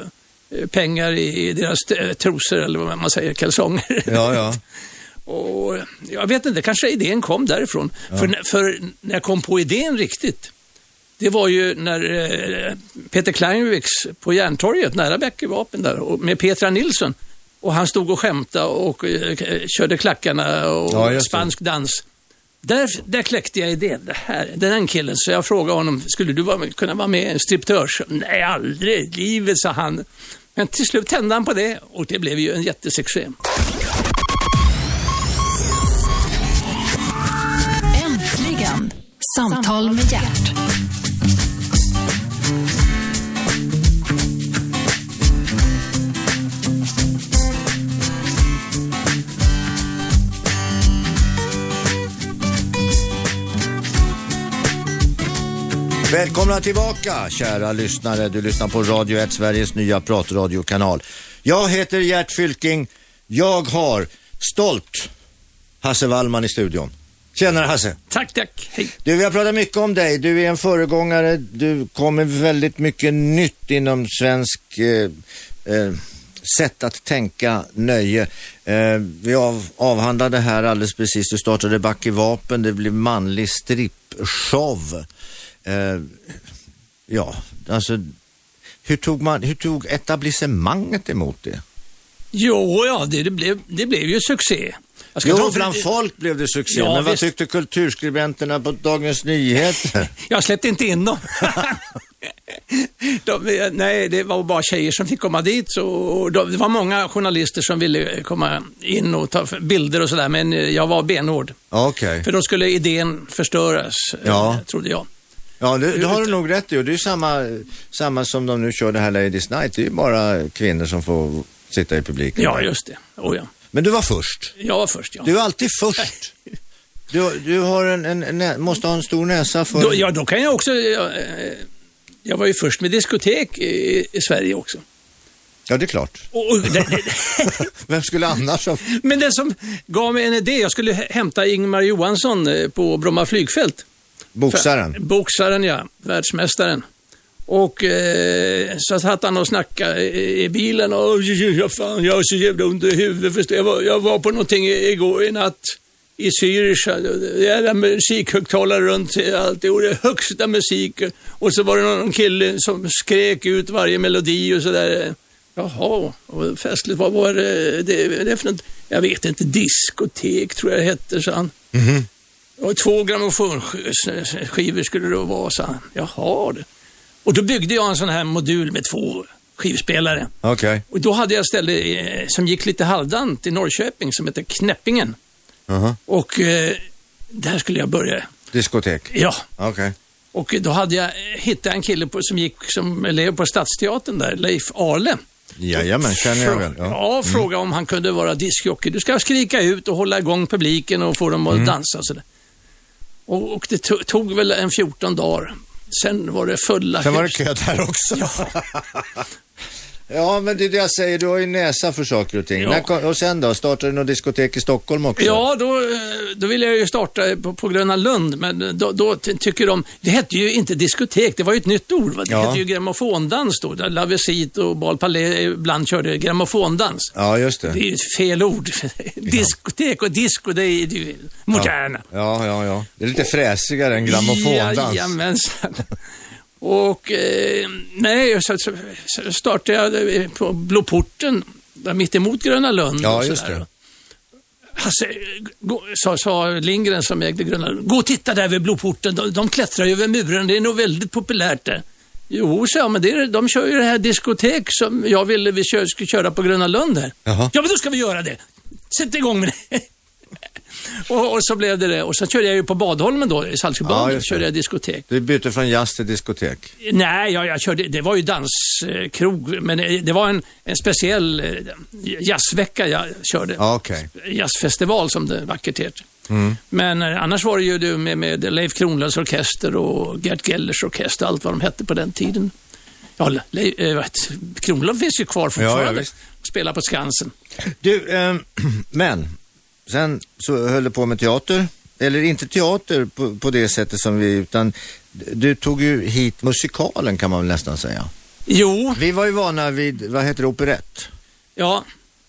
[SPEAKER 3] eh, pengar i deras eh, trosor eller vad man säger, kalsonger.
[SPEAKER 2] Ja, ja.
[SPEAKER 3] Och jag vet inte, kanske idén kom därifrån. För, när- för när jag kom på idén riktigt, det var ju när eh, Peter Kleinwicks på Järntorget, nära Bäcke vapen där, och med Petra Nilsson. Och han stod och skämtade och eh, k- körde klackarna och
[SPEAKER 2] Ja, just det.
[SPEAKER 3] spansk dans. Där, där kläckte jag idén, det här, den här killen. Så jag frågade honom, skulle du vara, med- kunna vara med i en striptörs? Nej, aldrig i livet, sa han. Men till slut tände han på det och det blev ju en jättesuccé.
[SPEAKER 1] Äntligen! Samtal med hjärt.
[SPEAKER 2] Välkomna tillbaka kära lyssnare. Du lyssnar på Radio 1, Sveriges nya pratradiokanal. Jag heter Gert Fylking. Jag har stolt Hasse Wallman i studion. Tjenare Hasse!
[SPEAKER 3] Tack, tack, hej.
[SPEAKER 2] Du, vi har pratat mycket om dig. Du är en föregångare. Du kommer väldigt mycket nytt inom svensk eh, eh, sätt att tänka, nöje. Eh, vi av, avhandlade här alldeles precis. Du startade Back i vapen. Det blev manlig strippshow. Eh, ja, alltså. Hur tog, man, hur tog etablissemanget emot det?
[SPEAKER 3] Jo, ja, det, det, blev, det blev ju succé. Jag ska
[SPEAKER 2] Jo,
[SPEAKER 3] ta-
[SPEAKER 2] bland folk blev det succé.
[SPEAKER 3] Ja,
[SPEAKER 2] men vad
[SPEAKER 3] visst.
[SPEAKER 2] tyckte kulturskribenterna på Dagens Nyheter?
[SPEAKER 3] Jag släppte inte in dem. de, eh, nej, det var bara tjejer som fick komma dit. Så, och de, det var många journalister som ville komma in och ta f- bilder och sådär, men eh, jag var benhård.
[SPEAKER 2] Okej.
[SPEAKER 3] För då skulle idén förstöras, eh,
[SPEAKER 2] Ja.
[SPEAKER 3] trodde jag.
[SPEAKER 2] Ja, det, det har du nog rätt i. Och det är ju samma, samma som de nu kör det här Ladies Night. Det är ju bara kvinnor som får sitta i publiken.
[SPEAKER 3] Ja, just det. Oh, ja.
[SPEAKER 2] Men du var först.
[SPEAKER 3] Jag var först, ja.
[SPEAKER 2] Du är alltid först. Du, du har en, en, en, nä- måste ha en stor näsa för...
[SPEAKER 3] Då, ja, då kan jag också... Jag, eh, jag var ju först med diskotek i, i Sverige också.
[SPEAKER 2] Ja, det är klart.
[SPEAKER 3] Och, och, det, det,
[SPEAKER 2] Vem skulle annars ha...
[SPEAKER 3] Men det som gav mig en idé, jag skulle hä- hämta Ingmar Johansson eh, på Bromma flygfält. För-
[SPEAKER 2] Boxaren.
[SPEAKER 3] Boxaren, ja. Världsmästaren. Och eh, så satt han och snackade i, i bilen och "Oj, oj, oj, fan, jag har så jävla ont i huvudet. förstår Jag, Jag var, jag var på någonting i- igår i natt i Zürich. Jävla musikhögtalare runt allt. Det var det högsta musik. Och så var det någon kille som skrek ut varje melodi och sådär. Jaha, och festligt. Vad var det, det, det för något? Jag vet inte. Diskotek tror jag det hette, sa han.
[SPEAKER 2] Mhm.
[SPEAKER 3] Och två grammofonskivor skulle det vara, sa han. Jaha du. Och då byggde jag en sån här modul med två skivspelare.
[SPEAKER 2] Okej.
[SPEAKER 3] Och då hade jag ett ställe eh, som gick lite halvdant i Norrköping som heter Knäppingen.
[SPEAKER 2] Aha.
[SPEAKER 3] Och eh, där skulle jag börja.
[SPEAKER 2] Diskotek.
[SPEAKER 3] Ja,
[SPEAKER 2] Okej.
[SPEAKER 3] och då hade jag hittat en kille på, som gick som elev på Stadsteatern där, Leif Arle.
[SPEAKER 2] Jajamän, känner jag väl. Mm.
[SPEAKER 3] Ja, fråga om han kunde vara diskjockey. Du ska skrika ut och hålla igång publiken och få dem att
[SPEAKER 2] Mm.
[SPEAKER 3] dansa och sådär. Och, och det to- tog väl en 14 dagar. Sen var det fulla
[SPEAKER 2] Sen var det
[SPEAKER 3] hus.
[SPEAKER 2] kö där också. Ja. men det är det jag säger, du har ju näsa för saker och ting.
[SPEAKER 3] Ja.
[SPEAKER 2] När kom- Och sen då, startade du något diskotek i Stockholm också?
[SPEAKER 3] Ja, då, eh, då ville jag ju starta på, på Gröna Lund, men då, då ty- tycker de... Det hette ju inte diskotek, det var ju ett nytt ord. Va? Det
[SPEAKER 2] Ja.
[SPEAKER 3] hette ju grammofondans då. där Lavesit och Bal Palais ibland körde grammofondans.
[SPEAKER 2] Ja, just det.
[SPEAKER 3] Det är ju ett fel ord. Diskotek och disco, det är ju moderna.
[SPEAKER 2] Ja, ja, ja. Det är lite fräsigare än grammofondans.
[SPEAKER 3] Jajamensan. Och eh, nej, så, så, så startade jag eh, på Blåporten, där mitt emot Gröna Lund.
[SPEAKER 2] Ja,
[SPEAKER 3] och
[SPEAKER 2] just
[SPEAKER 3] sådär.
[SPEAKER 2] det.
[SPEAKER 3] Hasse, gå, sa, sa Lindgren som ägde Gröna Lund, gå och titta där vid Blåporten, de, de klättrar ju över muren, det är nog väldigt populärt där. Jo, sa jag, men det är, de kör ju det här diskotek som jag ville vi kö, skulle köra på Gröna Lund här.
[SPEAKER 2] Jaha.
[SPEAKER 3] Ja, men då ska vi göra det. Sätt igång med det. och, och så blev det det. Och sen körde jag ju på Badholmen då, i
[SPEAKER 2] Ja,
[SPEAKER 3] Saltsjöbaden,
[SPEAKER 2] just det.
[SPEAKER 3] körde jag diskotek.
[SPEAKER 2] Du bytte från jazz till diskotek.
[SPEAKER 3] Nej, jag, jag körde, det var ju danskrog, men eh, det var en, en speciell eh, jazzvecka jag körde.
[SPEAKER 2] Ja, okej.
[SPEAKER 3] Jazzfestival som det vackert heter.
[SPEAKER 2] Mm.
[SPEAKER 3] Men eh, annars var det ju det med, med Leif Kronlunds orkester och Gert Gellers orkester, allt vad de hette på den tiden. Ja, Le, Le, eh, vet, Kronlund finns ju kvar
[SPEAKER 2] Ja, ja,
[SPEAKER 3] fortfarande.
[SPEAKER 2] visst.
[SPEAKER 3] spelar på Skansen.
[SPEAKER 2] Du, ehm, men sen så höll du på med teater. Eller inte teater på, på det sättet som vi, utan du tog ju hit musikalen kan man väl nästan säga.
[SPEAKER 3] Jo,
[SPEAKER 2] Vi var ju vana vid, vad heter det, operett?
[SPEAKER 3] ja.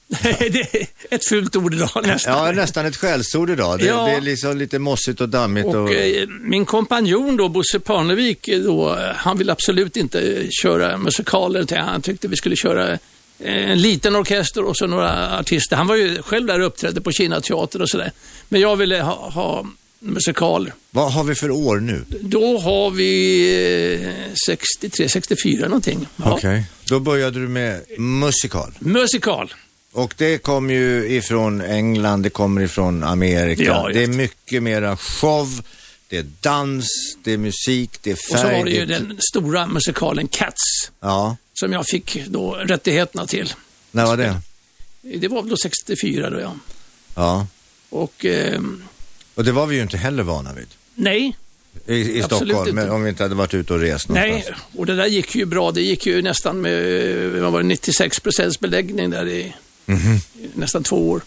[SPEAKER 3] det är ett fult ord idag nästan.
[SPEAKER 2] Ja, nästan ett skällsord idag. Det,
[SPEAKER 3] Ja.
[SPEAKER 2] det är liksom lite mossigt och dammigt. Och,
[SPEAKER 3] Och eh, min kompanjon då, Bosse Parnevik, eh, då, eh, han ville absolut inte eh, köra musikaler. utan Han tyckte vi skulle köra eh, en liten orkester och så några artister. Han var ju själv där och uppträdde på Kina teater och sådär. Men jag ville ha, ha musikaler.
[SPEAKER 2] Vad har vi för år nu?
[SPEAKER 3] Då har vi eh, 63, 64 någonting. Ja.
[SPEAKER 2] Då började du med musikal.
[SPEAKER 3] Musikal.
[SPEAKER 2] Och det kom ju ifrån England, det kommer ifrån Amerika.
[SPEAKER 3] Ja, just
[SPEAKER 2] det är mycket mera show, det är dans, det är musik, det är
[SPEAKER 3] Och så
[SPEAKER 2] färg.
[SPEAKER 3] var det ju
[SPEAKER 2] det är-
[SPEAKER 3] den stora musikalen Cats
[SPEAKER 2] Ja,
[SPEAKER 3] som jag fick då rättigheterna till.
[SPEAKER 2] när var det?
[SPEAKER 3] Det var väl då 64 då ja.
[SPEAKER 2] Ja,
[SPEAKER 3] Och ehm,
[SPEAKER 2] och det var vi ju inte heller vana vid.
[SPEAKER 3] nej,
[SPEAKER 2] I, i
[SPEAKER 3] Absolut
[SPEAKER 2] Stockholm,
[SPEAKER 3] inte.
[SPEAKER 2] men om vi inte hade varit ute och rest
[SPEAKER 3] Nej,
[SPEAKER 2] någonstans.
[SPEAKER 3] och det där gick ju bra. Det gick ju nästan med eh, vad var det, 96 procents beläggning där i i nästan två år.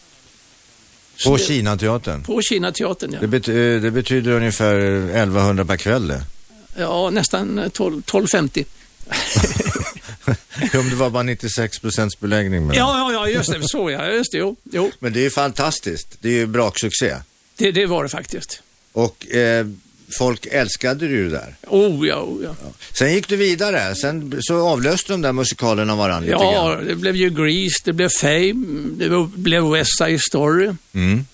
[SPEAKER 3] Så
[SPEAKER 2] Mhm. På
[SPEAKER 3] det-
[SPEAKER 2] Kinateatern.
[SPEAKER 3] På Kinateatern, ja.
[SPEAKER 2] Det, bet, eh, det betyder ungefär 1100 per kväll det.
[SPEAKER 3] Ja, nästan eh, 12 12,50.
[SPEAKER 2] om det var bara 96 procents beläggning. Men...
[SPEAKER 3] Ja, ja, ja, just det. Så ja, just det. Jo, jo
[SPEAKER 2] Men det är ju fantastiskt. Det är ju braksuccé.
[SPEAKER 3] det, det var det faktiskt.
[SPEAKER 2] Och eh, folk älskade ju det där.
[SPEAKER 3] Oh ja, oh ja.
[SPEAKER 2] Sen gick du vidare. Sen så avlöste de där musikalerna varandra lite
[SPEAKER 3] Ja,
[SPEAKER 2] grann.
[SPEAKER 3] det blev ju Grease, det blev Fame, det blev West Side Story,
[SPEAKER 2] Mm,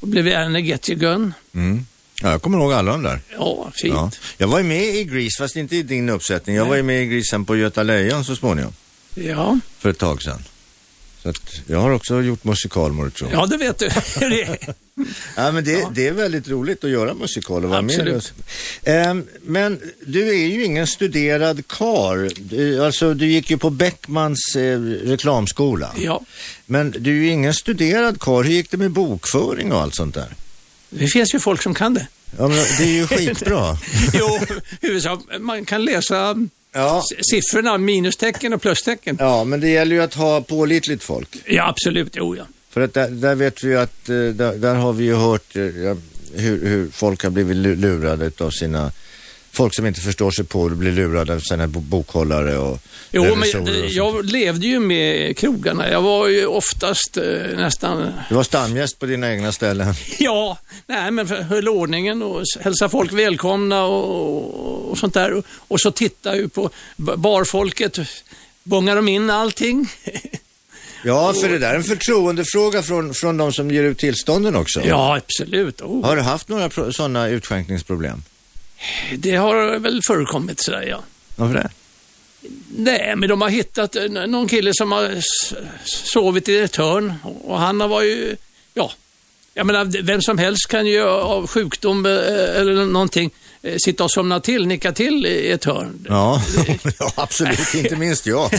[SPEAKER 3] det blev Annie Get Your Gun.
[SPEAKER 2] mm. ja, jag kommer ihåg alla de där.
[SPEAKER 3] Ja, fint.
[SPEAKER 2] Ja. Jag var ju med i Grease, fast inte i din uppsättning. Jag var ju med i Grease sen på Göta Lejon så småningom,
[SPEAKER 3] ja.
[SPEAKER 2] för ett tag sedan. Så att jag har också gjort musikal, må du tro.
[SPEAKER 3] ja det vet du. Det är-
[SPEAKER 2] Ja, men det, det är väldigt roligt att göra musikal och vara
[SPEAKER 3] Absolut.
[SPEAKER 2] med. Ehm, men du är ju ingen studerad kar. Du, alltså, du gick ju på Beckmans eh, reklamskola.
[SPEAKER 3] ja.
[SPEAKER 2] Men du är ju ingen studerad karl. Hur gick det med bokföring och allt sånt där?
[SPEAKER 3] Det finns ju folk som kan det.
[SPEAKER 2] Ja, men det är ju skitbra.
[SPEAKER 3] Jo, huvudsak, man kan läsa
[SPEAKER 2] Ja.
[SPEAKER 3] s- siffrorna, minustecken och plustecken.
[SPEAKER 2] ja, men det gäller ju att ha pålitligt folk.
[SPEAKER 3] Ja, absolut. Jo, ja.
[SPEAKER 2] För att där, där vet vi ju att, eh, där, där har vi ju hört eh, ja, hur, hur folk har blivit lu- lurade av sina Folk som inte förstår sig på det blir lurade av sina bo- bokhållare och
[SPEAKER 3] Jo, men
[SPEAKER 2] revisorer
[SPEAKER 3] det-
[SPEAKER 2] och sånt.
[SPEAKER 3] jag levde ju med krogarna. Jag var ju oftast eh, nästan,
[SPEAKER 2] Du var stamgäst på dina egna ställen.
[SPEAKER 3] ja, nej men för- höll ordningen och s- hälsade folk välkomna och, och sånt där. Och, och så tittade jag ju på b- barfolket. Bångar de in allting?
[SPEAKER 2] Ja, för det där är en förtroendefråga från, från de som ger ut tillstånden också.
[SPEAKER 3] Ja, absolut. Oh.
[SPEAKER 2] Har du haft några pro- sådana utskänkningsproblem?
[SPEAKER 3] Det har väl förekommit sådär, ja.
[SPEAKER 2] Varför det?
[SPEAKER 3] Nej, men de har hittat eh, n- någon kille som har s- sovit i ett hörn och han har varit ju, ja, Jag menar, vem som helst kan ju av sjukdom eh, eller någonting eh, sitta och somna till, nicka till i ett hörn.
[SPEAKER 2] Ja, ja absolut. Inte minst jag.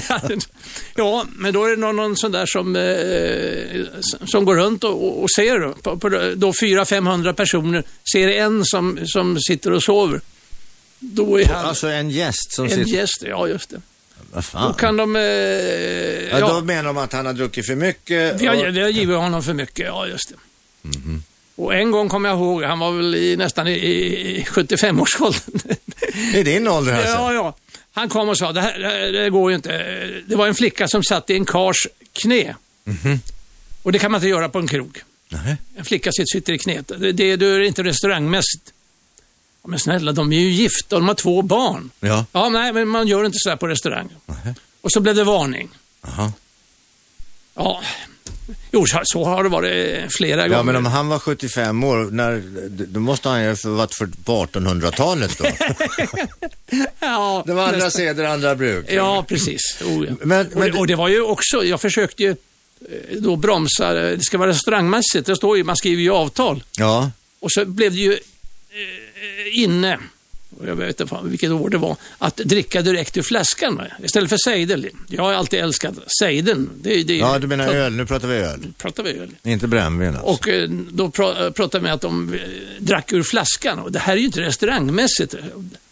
[SPEAKER 3] ja, men då är det någon, någon sån där som, eh, som går runt och, och ser, på, på, då 400-500 personer, ser en som, som sitter och sover. Då är han
[SPEAKER 2] Alltså en gäst som
[SPEAKER 3] en
[SPEAKER 2] sitter...
[SPEAKER 3] gäst, ja just det.
[SPEAKER 2] Vad
[SPEAKER 3] Då
[SPEAKER 2] fan?
[SPEAKER 3] kan de... Eh,
[SPEAKER 2] Ja, då
[SPEAKER 3] ja,
[SPEAKER 2] menar de att han har druckit för mycket.
[SPEAKER 3] vi, har,
[SPEAKER 2] och-
[SPEAKER 3] vi har givit honom för mycket, ja just det.
[SPEAKER 2] Mhm.
[SPEAKER 3] Och en gång kommer jag ihåg, han var väl i, nästan i, i 75-årsåldern.
[SPEAKER 2] I din ålder alltså?
[SPEAKER 3] Ja, ja. Han kom och sa, det här det, här- det går ju inte. Det var en flicka som satt i en kars knä.
[SPEAKER 2] Mhm.
[SPEAKER 3] Och det kan man inte göra på en krog.
[SPEAKER 2] Nej.
[SPEAKER 3] En flicka sitter, sitter i knät. Det, det, det är inte restaurangmässigt. Ja, Men snälla, de är ju gifta och de har två barn.
[SPEAKER 2] Ja.
[SPEAKER 3] Ja, nej, men man gör inte så här på restaurang.
[SPEAKER 2] Nej.
[SPEAKER 3] Och så blev det varning.
[SPEAKER 2] Aha.
[SPEAKER 3] Ja, jo, så, så har det varit flera
[SPEAKER 2] Ja,
[SPEAKER 3] gånger.
[SPEAKER 2] men om han var 75 år, när, då måste han ju ha varit för på 1800-talet då.
[SPEAKER 3] ja,
[SPEAKER 2] Det var andra
[SPEAKER 3] nästan.
[SPEAKER 2] seder, andra bruk.
[SPEAKER 3] Ja, precis. Oh, ja.
[SPEAKER 2] Men-
[SPEAKER 3] och,
[SPEAKER 2] men-
[SPEAKER 3] det, och det var ju också, jag försökte ju eh, då bromsa, eh, det ska vara restaurangmässigt, det står ju, man skriver ju avtal.
[SPEAKER 2] Ja,
[SPEAKER 3] Och så blev det ju eh, inne, och jag vet inte fan vilket år det var, att dricka direkt ur flaskan va? istället för sejdel. Jag har alltid älskat sejden. Det, det,
[SPEAKER 2] ja du menar
[SPEAKER 3] pra-
[SPEAKER 2] öl, nu pratar vi öl.
[SPEAKER 3] Pratar vi öl?
[SPEAKER 2] Inte brännvin alltså.
[SPEAKER 3] Och eh, då pra- eh, pratade vi att de eh, drack ur flaskan och det här är ju inte restaurangmässigt.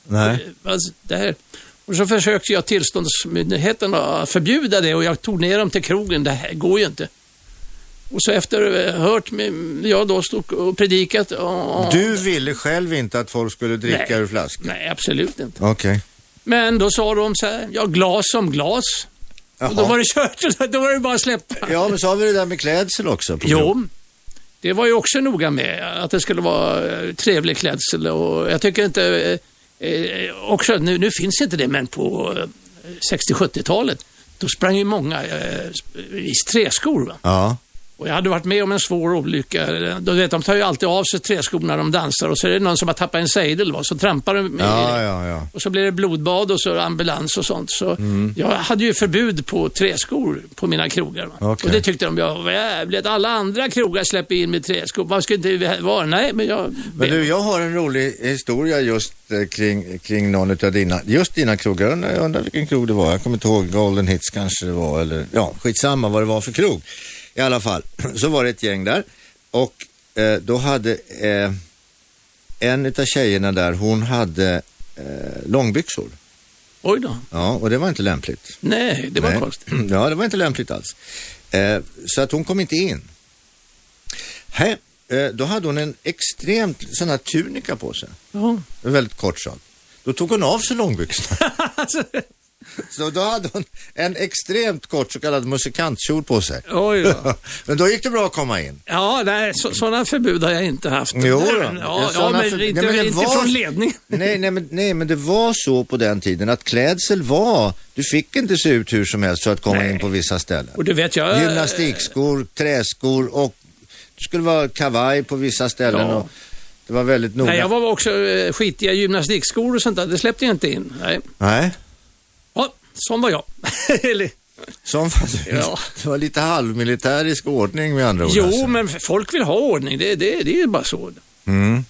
[SPEAKER 2] Nej.
[SPEAKER 3] Eh, Alltså, det här. Och så försökte jag tillståndsmyndigheten att förbjuda det och jag tog ner dem till krogen. Det här går ju inte. Och så efter eh, hört mig, jag då stod och predikat. Och, och,
[SPEAKER 2] Du ville själv inte att folk skulle dricka
[SPEAKER 3] Nej.
[SPEAKER 2] ur flask?
[SPEAKER 3] Nej, absolut inte.
[SPEAKER 2] Okej.
[SPEAKER 3] Men då sa de så här, ja glas som glas. Och då
[SPEAKER 2] Jaha.
[SPEAKER 3] var det kört, då var det bara att släppa.
[SPEAKER 2] Ja, men så har vi det där med klädsel också. på krogen.
[SPEAKER 3] Jo, det var ju också noga med att det skulle vara eh, trevlig klädsel och jag tycker inte, eh, eh, också nu, nu finns inte det, men på eh, 60-70-talet då sprang ju många eh, sp- i träskor. Va?
[SPEAKER 2] Ja,
[SPEAKER 3] Och jag hade varit med om en svår olycka. Då vet, de tar ju alltid av sig träskor när de dansar och så är det någon som har tappat en sejdel va? så trampar de i-
[SPEAKER 2] ja, ja. ja.
[SPEAKER 3] och så blir det blodbad och så ambulans och sånt. Så
[SPEAKER 2] Mm.
[SPEAKER 3] Jag hade ju förbud på träskor på mina krogar. va.
[SPEAKER 2] Okej.
[SPEAKER 3] Och det tyckte de jag var jävligt. Alla andra krogar släpper in med träskor. Vad skulle inte vi här vara? Nej, men jag...
[SPEAKER 2] Men du, jag har en rolig historia just eh, kring, kring någon utav dina, just dina krogar. Jag undrar- Jag undrar vilken krog det var. Jag kommer inte ihåg, Golden Hits kanske det var eller ja, skitsamma vad det var för krog. I alla fall, så var det ett gäng där och eh, då hade eh, en utav tjejerna där, hon hade eh, långbyxor.
[SPEAKER 3] Oj då.
[SPEAKER 2] Ja, och det var inte lämpligt.
[SPEAKER 3] Nej, det var
[SPEAKER 2] Nej.
[SPEAKER 3] konstigt.
[SPEAKER 2] Ja, det var inte lämpligt alls. Eh, så att hon kom inte in. Hä? Eh, då hade hon en extremt sån här tunika på sig.
[SPEAKER 3] Ja.
[SPEAKER 2] En väldigt kort sån. Då tog hon av sig långbyxorna. Alltså. så då hade hon en extremt kort så kallad musikantkjol på sig.
[SPEAKER 3] Oj då.
[SPEAKER 2] men då gick det bra att komma in.
[SPEAKER 3] Ja, nej, så, sådana förbud har jag inte haft.
[SPEAKER 2] Jo då.
[SPEAKER 3] ja, ja,
[SPEAKER 2] Sådana
[SPEAKER 3] men
[SPEAKER 2] för-
[SPEAKER 3] inte,
[SPEAKER 2] Nej, men det
[SPEAKER 3] inte
[SPEAKER 2] var-
[SPEAKER 3] från ledningen.
[SPEAKER 2] Nej, nej, men, nej, men det var så på den tiden att klädsel var, du fick inte se ut hur som helst för att komma
[SPEAKER 3] Nej.
[SPEAKER 2] in på vissa ställen.
[SPEAKER 3] Och du vet, jag... eh,
[SPEAKER 2] Gymnastikskor, träskor och det skulle vara kavaj på vissa ställen.
[SPEAKER 3] Ja.
[SPEAKER 2] Och det var väldigt noga.
[SPEAKER 3] Nej, jag var också eh, skitiga gymnastikskor och sånt där. Det släppte jag inte in. Nej.
[SPEAKER 2] Nej,
[SPEAKER 3] Ja, sån var jag. Eller,
[SPEAKER 2] som fanns
[SPEAKER 3] Ja.
[SPEAKER 2] Det var lite halvmilitärisk ordning med andra ord.
[SPEAKER 3] Jo,
[SPEAKER 2] alltså.
[SPEAKER 3] men folk vill ha ordning. Det, det, det är ju bara så.
[SPEAKER 2] Mm.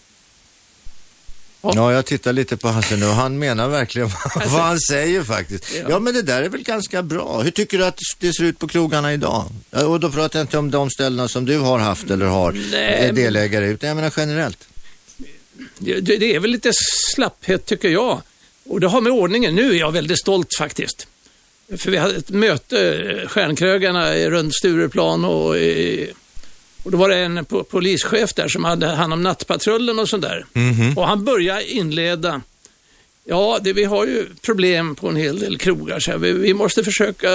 [SPEAKER 3] Ja.
[SPEAKER 2] Ja, jag tittar lite på Hasse nu och han menar verkligen vad vad han säger faktiskt. Ja.
[SPEAKER 3] Ja.
[SPEAKER 2] men det där är väl ganska bra. Hur tycker du att det ser ut på krogarna idag? Ja, Och då pratar jag inte om de ställena som du har haft eller har
[SPEAKER 3] Nej,
[SPEAKER 2] är delägare i, utan jag menar generellt.
[SPEAKER 3] Det, det det är väl lite slapphet, tycker jag. Och det har med ordningen. Nu är jag väldigt stolt faktiskt. För vi hade ett möte, eh, stjärnkrögarna eh, runt Stureplan och, eh, och då var det en po- polischef där som hade hand om nattpatrullen och sånt där. Och han började inleda. Ja, det, vi har ju problem på en hel del krogar, så här. Vi, vi måste försöka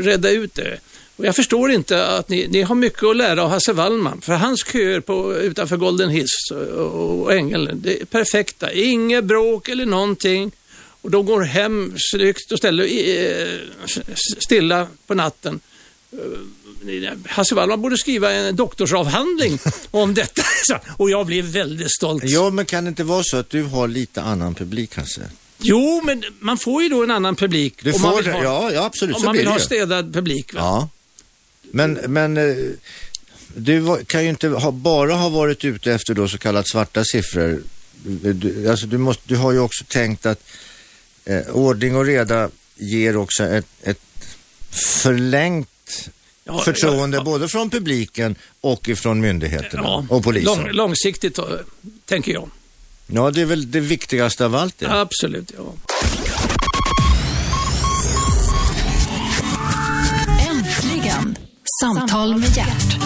[SPEAKER 3] rädda ut det. Och jag förstår inte att ni, ni har mycket att lära av Hasse Wallman, för hans köer på, utanför Golden Hiss och, och Ängeln, det är perfekta. Inget bråk eller någonting. Och de går hem snyggt och ställer eh, stilla på natten. Eh, Hasse Wallman borde skriva en doktorsavhandling om detta. Så, Och jag blev väldigt stolt.
[SPEAKER 2] Ja, men kan det inte vara så att du har lite annan publik, Hasse?
[SPEAKER 3] Jo, men man får ju då en annan publik.
[SPEAKER 2] Du
[SPEAKER 3] om
[SPEAKER 2] får
[SPEAKER 3] man vill
[SPEAKER 2] det,
[SPEAKER 3] ha,
[SPEAKER 2] ja, ja absolut.
[SPEAKER 3] om
[SPEAKER 2] så
[SPEAKER 3] man
[SPEAKER 2] blir
[SPEAKER 3] vill
[SPEAKER 2] det
[SPEAKER 3] ha
[SPEAKER 2] ju.
[SPEAKER 3] städad publik. Va?
[SPEAKER 2] Ja. Men, men eh, Du var- kan ju inte ha, bara ha varit ute efter då så kallat svarta siffror. Du, alltså du, måste, du har ju också tänkt att eh, ordning och reda ger också ett, ett förlängt
[SPEAKER 3] Ja,
[SPEAKER 2] förtroende
[SPEAKER 3] ja, ja.
[SPEAKER 2] både från publiken och ifrån myndigheterna och polisen.
[SPEAKER 3] Lång, långsiktigt, eh, tänker jag.
[SPEAKER 2] Ja, det är väl det viktigaste av allt det.
[SPEAKER 3] Absolut, ja.
[SPEAKER 1] Äntligen! Samtal med hjärt.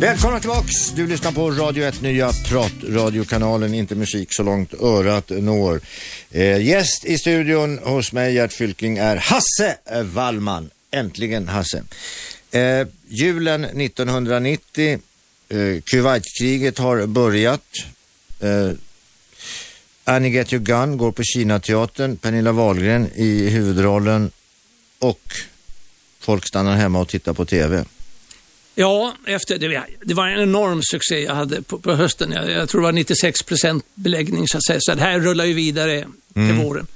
[SPEAKER 2] Välkomna tillbaks! Du lyssnar på Radio 1 Nya Pratradiokanalen, inte musik så långt örat når. Eh, gäst i studion hos mig, Gert Fylking, är Hasse eh, Wallman. Äntligen Hasse. Eh, julen 1990, eh, Kuwaitkriget har börjat. Eh, Annie Get Your Gun går på Kinateatern, Pernilla Wahlgren i huvudrollen och folk stannar hemma och tittar på TV.
[SPEAKER 3] Ja, efter, det, det var en enorm succé jag hade på, på hösten. Jag, jag tror det var 96 procent beläggning så att säga. Så det här rullar ju vidare
[SPEAKER 2] Mm.
[SPEAKER 3] till våren.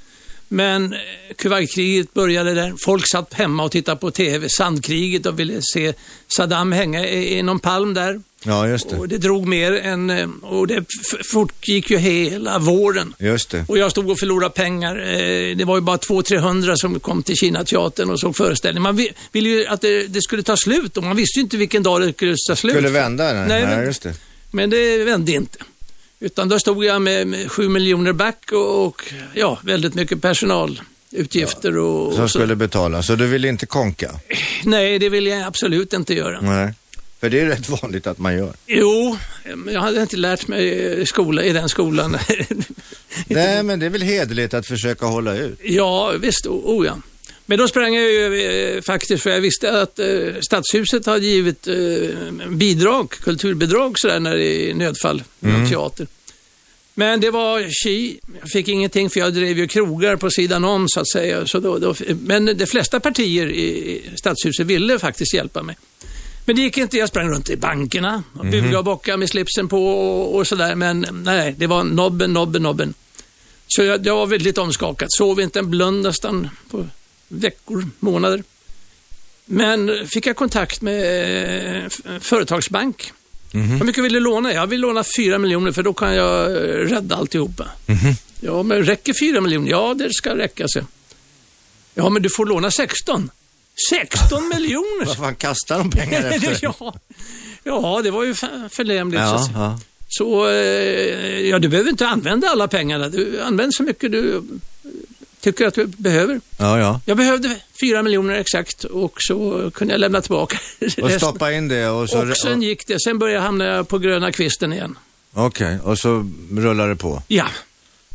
[SPEAKER 3] Men eh, Kuwaitkriget började där. Folk satt hemma och tittade på TV. Sandkriget och ville se Saddam hänga i, i någon palm där.
[SPEAKER 2] Ja, just det.
[SPEAKER 3] Och det drog mer än... eh, Och det f- fortgick ju hela våren.
[SPEAKER 2] Just det.
[SPEAKER 3] Och jag stod och förlorade pengar. Eh, Det var ju bara 200-300 som kom till Kinateatern och såg föreställningen. Man vi- ville ju att det, det skulle ta slut och man visste ju inte vilken dag det skulle ta slut.
[SPEAKER 2] Skulle vända? Nej, nej,
[SPEAKER 3] Nej, men-
[SPEAKER 2] just det.
[SPEAKER 3] Men det vände inte. Utan då stod jag med, med 7 miljoner back och, och ja, väldigt mycket personalutgifter och,
[SPEAKER 2] Som
[SPEAKER 3] och så.
[SPEAKER 2] skulle betala, så du vill inte konka?
[SPEAKER 3] Nej, det vill jag absolut inte göra.
[SPEAKER 2] Nej. För det är rätt vanligt att man gör.
[SPEAKER 3] Jo, men jag hade inte lärt mig eh, skola, i den skolan.
[SPEAKER 2] Nej, men det är väl hederligt att försöka hålla ut.
[SPEAKER 3] Ja, visst. O, o, ja. Men då sprang jag ju eh, faktiskt, för jag visste att eh, Stadshuset hade givit eh, bidrag, kulturbidrag sådär när det är nödfall, mm. teater. Men det var chi. Jag fick ingenting för jag drev ju krogar på sidan om så att säga. Så då, då, men de flesta partier i i Stadshuset ville faktiskt hjälpa mig. Men det gick inte. Jag sprang runt i bankerna och bugade och bockade med slipsen på och, och sådär. Men nej, det var nobben, nobben, nobben. Så jag, jag var väldigt omskakad. Sov inte en blund nästan på veckor, månader. Men fick jag kontakt med eh, f- företagsbank. Hur mycket vill du låna? Jag vill låna 4 miljoner för då kan jag eh, rädda alltihopa. Ja, men räcker 4 miljoner? Ja, det ska räcka, så. Ja, men du får låna 16. 16 miljoner!
[SPEAKER 2] Vad fan kastar de pengar efter?
[SPEAKER 3] ja, ja, det var ju fa- förnämligt. så att
[SPEAKER 2] ja,
[SPEAKER 3] säga.
[SPEAKER 2] ja.
[SPEAKER 3] Så eh, ja, du behöver inte använda alla pengarna. Du använder så mycket du eh, tycker att du behöver.
[SPEAKER 2] ja, ja.
[SPEAKER 3] Jag behövde fyra miljoner exakt och så kunde jag lämna tillbaka
[SPEAKER 2] Och
[SPEAKER 3] resten.
[SPEAKER 2] stoppa in det och så...
[SPEAKER 3] Och sen gick det. Sen började jag hamna på gröna kvisten igen.
[SPEAKER 2] Okej, och så rullar det på.
[SPEAKER 3] Ja,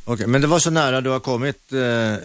[SPEAKER 2] Okej, Men det var så nära du har kommit eh, en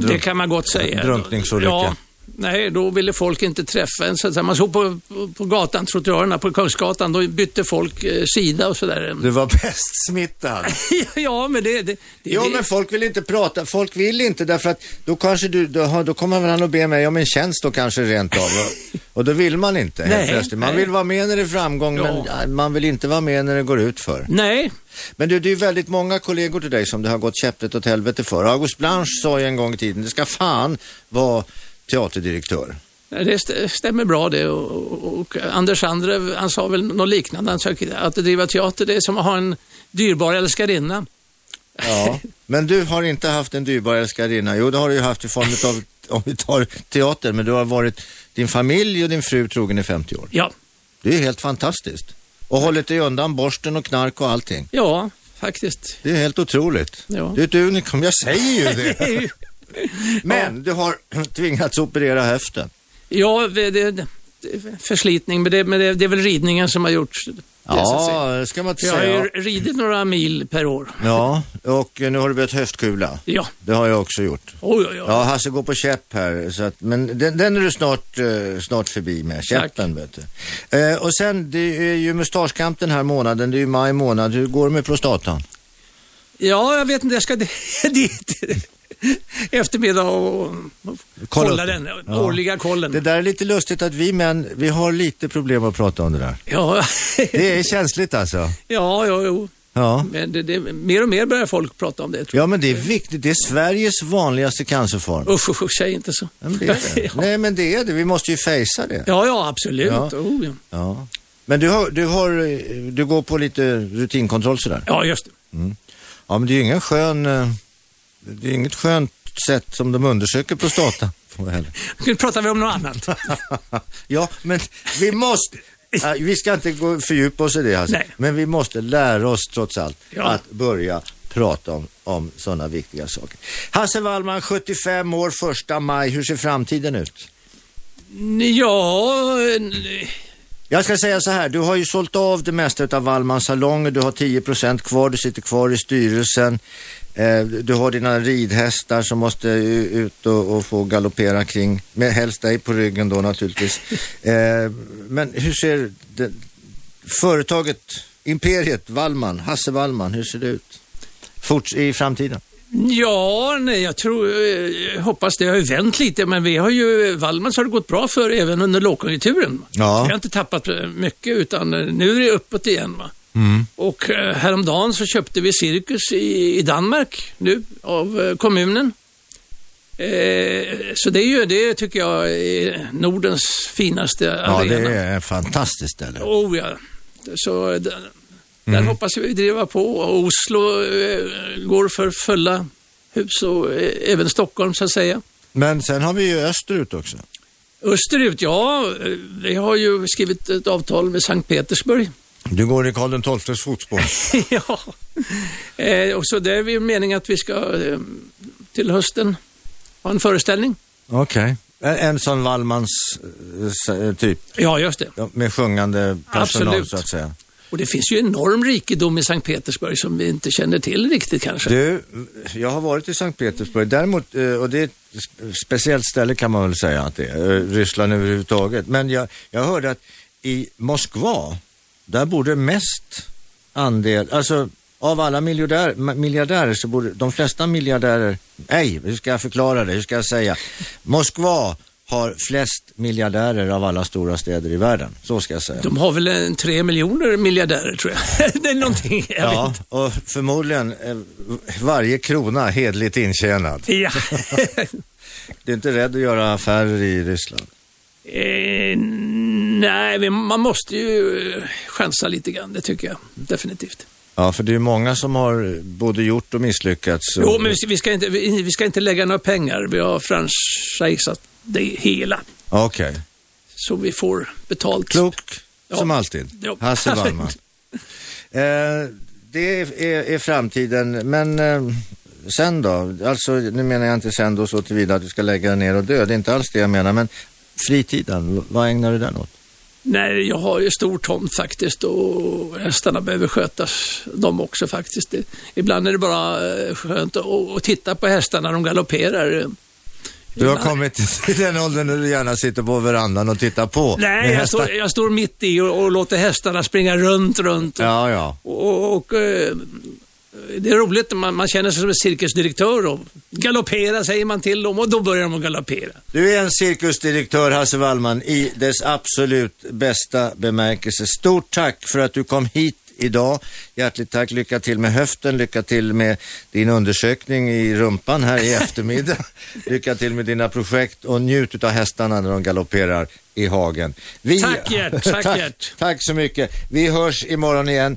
[SPEAKER 3] det
[SPEAKER 2] drunk-
[SPEAKER 3] kan man gott säga.
[SPEAKER 2] drunkningsolycka.
[SPEAKER 3] Ja, nej, då ville folk inte träffa en. Så att säga. Man såg på, på- på gatan, trottoarerna på Kungsgatan, då bytte folk eh, sida och sådär.
[SPEAKER 2] Du var pestsmittad.
[SPEAKER 3] ja, men det... det, det
[SPEAKER 2] Jo,
[SPEAKER 3] det-
[SPEAKER 2] men folk vill inte prata. Folk vill inte därför att då kanske du, då, har- då kommer han och ber mig om en tjänst då kanske rent av. Och, och då vill man inte helt
[SPEAKER 3] Nej,
[SPEAKER 2] plötsligt. Man
[SPEAKER 3] nej.
[SPEAKER 2] vill vara med när det är framgång men
[SPEAKER 3] Ja.
[SPEAKER 2] ja, man vill inte vara med när det går ut för.
[SPEAKER 3] Nej,
[SPEAKER 2] Men du, det är ju väldigt många kollegor till dig som det har gått käpprätt åt helvete för. August Blanche sa ju en gång i tiden, det ska fan vara teaterdirektör.
[SPEAKER 3] Nej, Det st- stämmer bra det och, och, och Anders Andrev, han sa väl något liknande. Han sa att driva teater det är som att ha en dyrbar älskarinna.
[SPEAKER 2] Ja. Men du har inte haft en dyrbar älskarinna. Jo, det har du ju haft i form av, om vi tar teater, men du har varit din familj och din fru trogen i 50 år.
[SPEAKER 3] Ja,
[SPEAKER 2] Det är helt fantastiskt. Och hållit dig undan borsten och knark och allting.
[SPEAKER 3] ja faktiskt.
[SPEAKER 2] Det är helt otroligt.
[SPEAKER 3] Ja.
[SPEAKER 2] Du är ett unikum, jag säger ju det.
[SPEAKER 3] Det är ju-
[SPEAKER 2] Men du har tvingats operera höften.
[SPEAKER 3] ja, det, det, det är förslitning, men, det, men det, det är väl ridningen som har gjort det. så att säga.
[SPEAKER 2] Ja, det ska man inte
[SPEAKER 3] För jag har
[SPEAKER 2] säga.
[SPEAKER 3] ju ridit några mil per år.
[SPEAKER 2] Ja, och nu har du börjat höftkula.
[SPEAKER 3] Ja,
[SPEAKER 2] Det har jag också gjort.
[SPEAKER 3] oj, oj, oj.
[SPEAKER 2] Ja, Hasse går på käpp här, så att, men den, den är du snart, eh, snart förbi med, käppen vet du. Eh, och sen, det är ju mustaschkamp den här månaden, det är ju maj månad. Hur går det med prostatan?
[SPEAKER 3] Ja, jag vet inte, jag ska di- dit. eftermiddag och, och
[SPEAKER 2] Kolla
[SPEAKER 3] kolla
[SPEAKER 2] upp.
[SPEAKER 3] den
[SPEAKER 2] Ja.
[SPEAKER 3] årliga kollen.
[SPEAKER 2] Det där är lite lustigt att vi män, vi har lite problem att prata om det där.
[SPEAKER 3] Ja,
[SPEAKER 2] Det är känsligt alltså.
[SPEAKER 3] ja, ja, jo.
[SPEAKER 2] Ja.
[SPEAKER 3] Men det, det, mer och mer börjar folk prata om det. Tror
[SPEAKER 2] ja, men det är viktigt. Det är Sveriges vanligaste cancerform.
[SPEAKER 3] jag. Usch, usch, usch, säg inte så.
[SPEAKER 2] Ja, men det är det. Nej, men det är det. Vi måste ju fejsa det.
[SPEAKER 3] Ja, ja, absolut.
[SPEAKER 2] Ja.
[SPEAKER 3] Oh, ja.
[SPEAKER 2] Ja. Men du, har, du, har, eh, du går på lite rutinkontroll sådär?
[SPEAKER 3] ja, just det.
[SPEAKER 2] Ja, men det är ju ingen skön, eh, det är inget skönt sätt som de undersöker prostata på heller.
[SPEAKER 3] Nu pratar vi om något annat.
[SPEAKER 2] ja, men vi måste, Ja, vi ska inte gå fördjupa oss i det alltså.
[SPEAKER 3] Nej.
[SPEAKER 2] men vi måste lära oss trots allt
[SPEAKER 3] Ja.
[SPEAKER 2] att börja prata om, om sådana viktiga saker. Hasse Wallman, 75 år, första maj, hur ser framtiden ut?
[SPEAKER 3] Ja, eh,
[SPEAKER 2] Jag ska säga så här, du har ju sålt av det mesta av Wallmans salonger, du har 10% kvar, du sitter kvar i styrelsen, eh, du har dina ridhästar som måste eh, ut och, och få galoppera kring, med helst dig på ryggen då naturligtvis. Eh, men hur ser det, företaget, imperiet Wallman, Hasse Wallman, hur ser det ut? Fort, I framtiden?
[SPEAKER 3] Ja, nej, jag tror, eh, hoppas det har ju vänt lite, men vi har ju, Wallmans har det gått bra för även under lågkonjunkturen.
[SPEAKER 2] Ja.
[SPEAKER 3] Vi har inte tappat eh, mycket, utan eh, nu är det uppåt igen. Va?
[SPEAKER 2] Mm.
[SPEAKER 3] Och eh, häromdagen så köpte vi Cirkus i, i Danmark nu av eh, kommunen. Eh, så det är ju, det tycker jag är Nordens finaste
[SPEAKER 2] Ja,
[SPEAKER 3] arena.
[SPEAKER 2] det är ett fantastiskt ställe.
[SPEAKER 3] Oh ja. Så eh, där, där hoppas vi driva på. Och Oslo eh, går för fulla hus och eh, även Stockholm så att säga.
[SPEAKER 2] Men sen har vi ju österut också.
[SPEAKER 3] Österut, ja, eh, vi har ju skrivit ett avtal med Sankt Petersburg.
[SPEAKER 2] Du går i Karl XIIs fotspår.
[SPEAKER 3] ja, eh, och så där är det meningen att vi ska eh, till hösten ha en föreställning.
[SPEAKER 2] Okej. En, en sån Wallmans eh, s- eh, typ,
[SPEAKER 3] Ja, just det.
[SPEAKER 2] ja, med sjungande personal
[SPEAKER 3] Absolut.
[SPEAKER 2] så att säga.
[SPEAKER 3] Och det finns ju enorm rikedom i Sankt Petersburg som vi inte känner till riktigt kanske.
[SPEAKER 2] Du, jag har varit i Sankt Petersburg, däremot, eh, och det är ett sp- speciellt ställe kan man väl säga att det är, eh, Ryssland överhuvudtaget. Men jag, jag hörde att i Moskva, där borde mest andel, alltså av alla miljardär, ma- miljardärer så borde de flesta miljardärer, nej, hur ska jag förklara det, hur ska jag säga? Moskva har flest miljardärer av alla stora städer i världen, så ska jag säga.
[SPEAKER 3] De har väl en tre miljoner miljardärer tror jag. det är någonting, jag vet
[SPEAKER 2] Ja,
[SPEAKER 3] inte.
[SPEAKER 2] och förmodligen eh, varje krona hedligt intjänad.
[SPEAKER 3] Ja.
[SPEAKER 2] Du är inte rädd att göra affärer i Ryssland?
[SPEAKER 3] eh, nej, men man måste ju eh, chansa lite grann, det tycker jag definitivt.
[SPEAKER 2] Ja, för det är många som har både gjort och misslyckats.
[SPEAKER 3] Jo, men vi ska, vi ska, inte, vi, vi ska inte lägga några pengar. Vi har franchisat det hela,
[SPEAKER 2] Okej,
[SPEAKER 3] så vi får betalt.
[SPEAKER 2] klok
[SPEAKER 3] Ja.
[SPEAKER 2] som alltid.
[SPEAKER 3] Ja.
[SPEAKER 2] Hasse Wallman. eh, det är, är, är framtiden, men eh, sen då? Alltså, nu menar jag inte sen då så tillvida att du ska lägga dig ner och dö. Det är inte alls det jag menar, men fritiden, v- vad ägnar du den åt?
[SPEAKER 3] Nej, jag har ju stor tomt faktiskt och hästarna behöver skötas, de också faktiskt. Det, ibland är det bara eh, skönt att, att titta på hästarna när de galopperar.
[SPEAKER 2] Du har
[SPEAKER 3] Nej.
[SPEAKER 2] kommit till den åldern när du gärna sitter på verandan och tittar på.
[SPEAKER 3] Nej,
[SPEAKER 2] med
[SPEAKER 3] jag
[SPEAKER 2] hästar.
[SPEAKER 3] står, jag står mitt i och, och låter hästarna springa runt, runt.
[SPEAKER 2] Ja, ja.
[SPEAKER 3] Och, och, eh, det är roligt, när man, man känner sig som en cirkusdirektör. Och galoppera säger man till dem och då börjar de att galoppera.
[SPEAKER 2] Du är en cirkusdirektör, Hasse Wallman, i dess absolut bästa bemärkelse. Stort tack för att du kom hit idag. Hjärtligt tack. Lycka till med höften, lycka till med din undersökning i rumpan här i eftermiddag. lycka till med dina projekt och njut av hästarna när de galopperar i hagen. Vi-
[SPEAKER 3] Tack, Gert. Tack,
[SPEAKER 2] tack,
[SPEAKER 3] Gert.
[SPEAKER 2] tack så mycket. Vi hörs imorgon igen.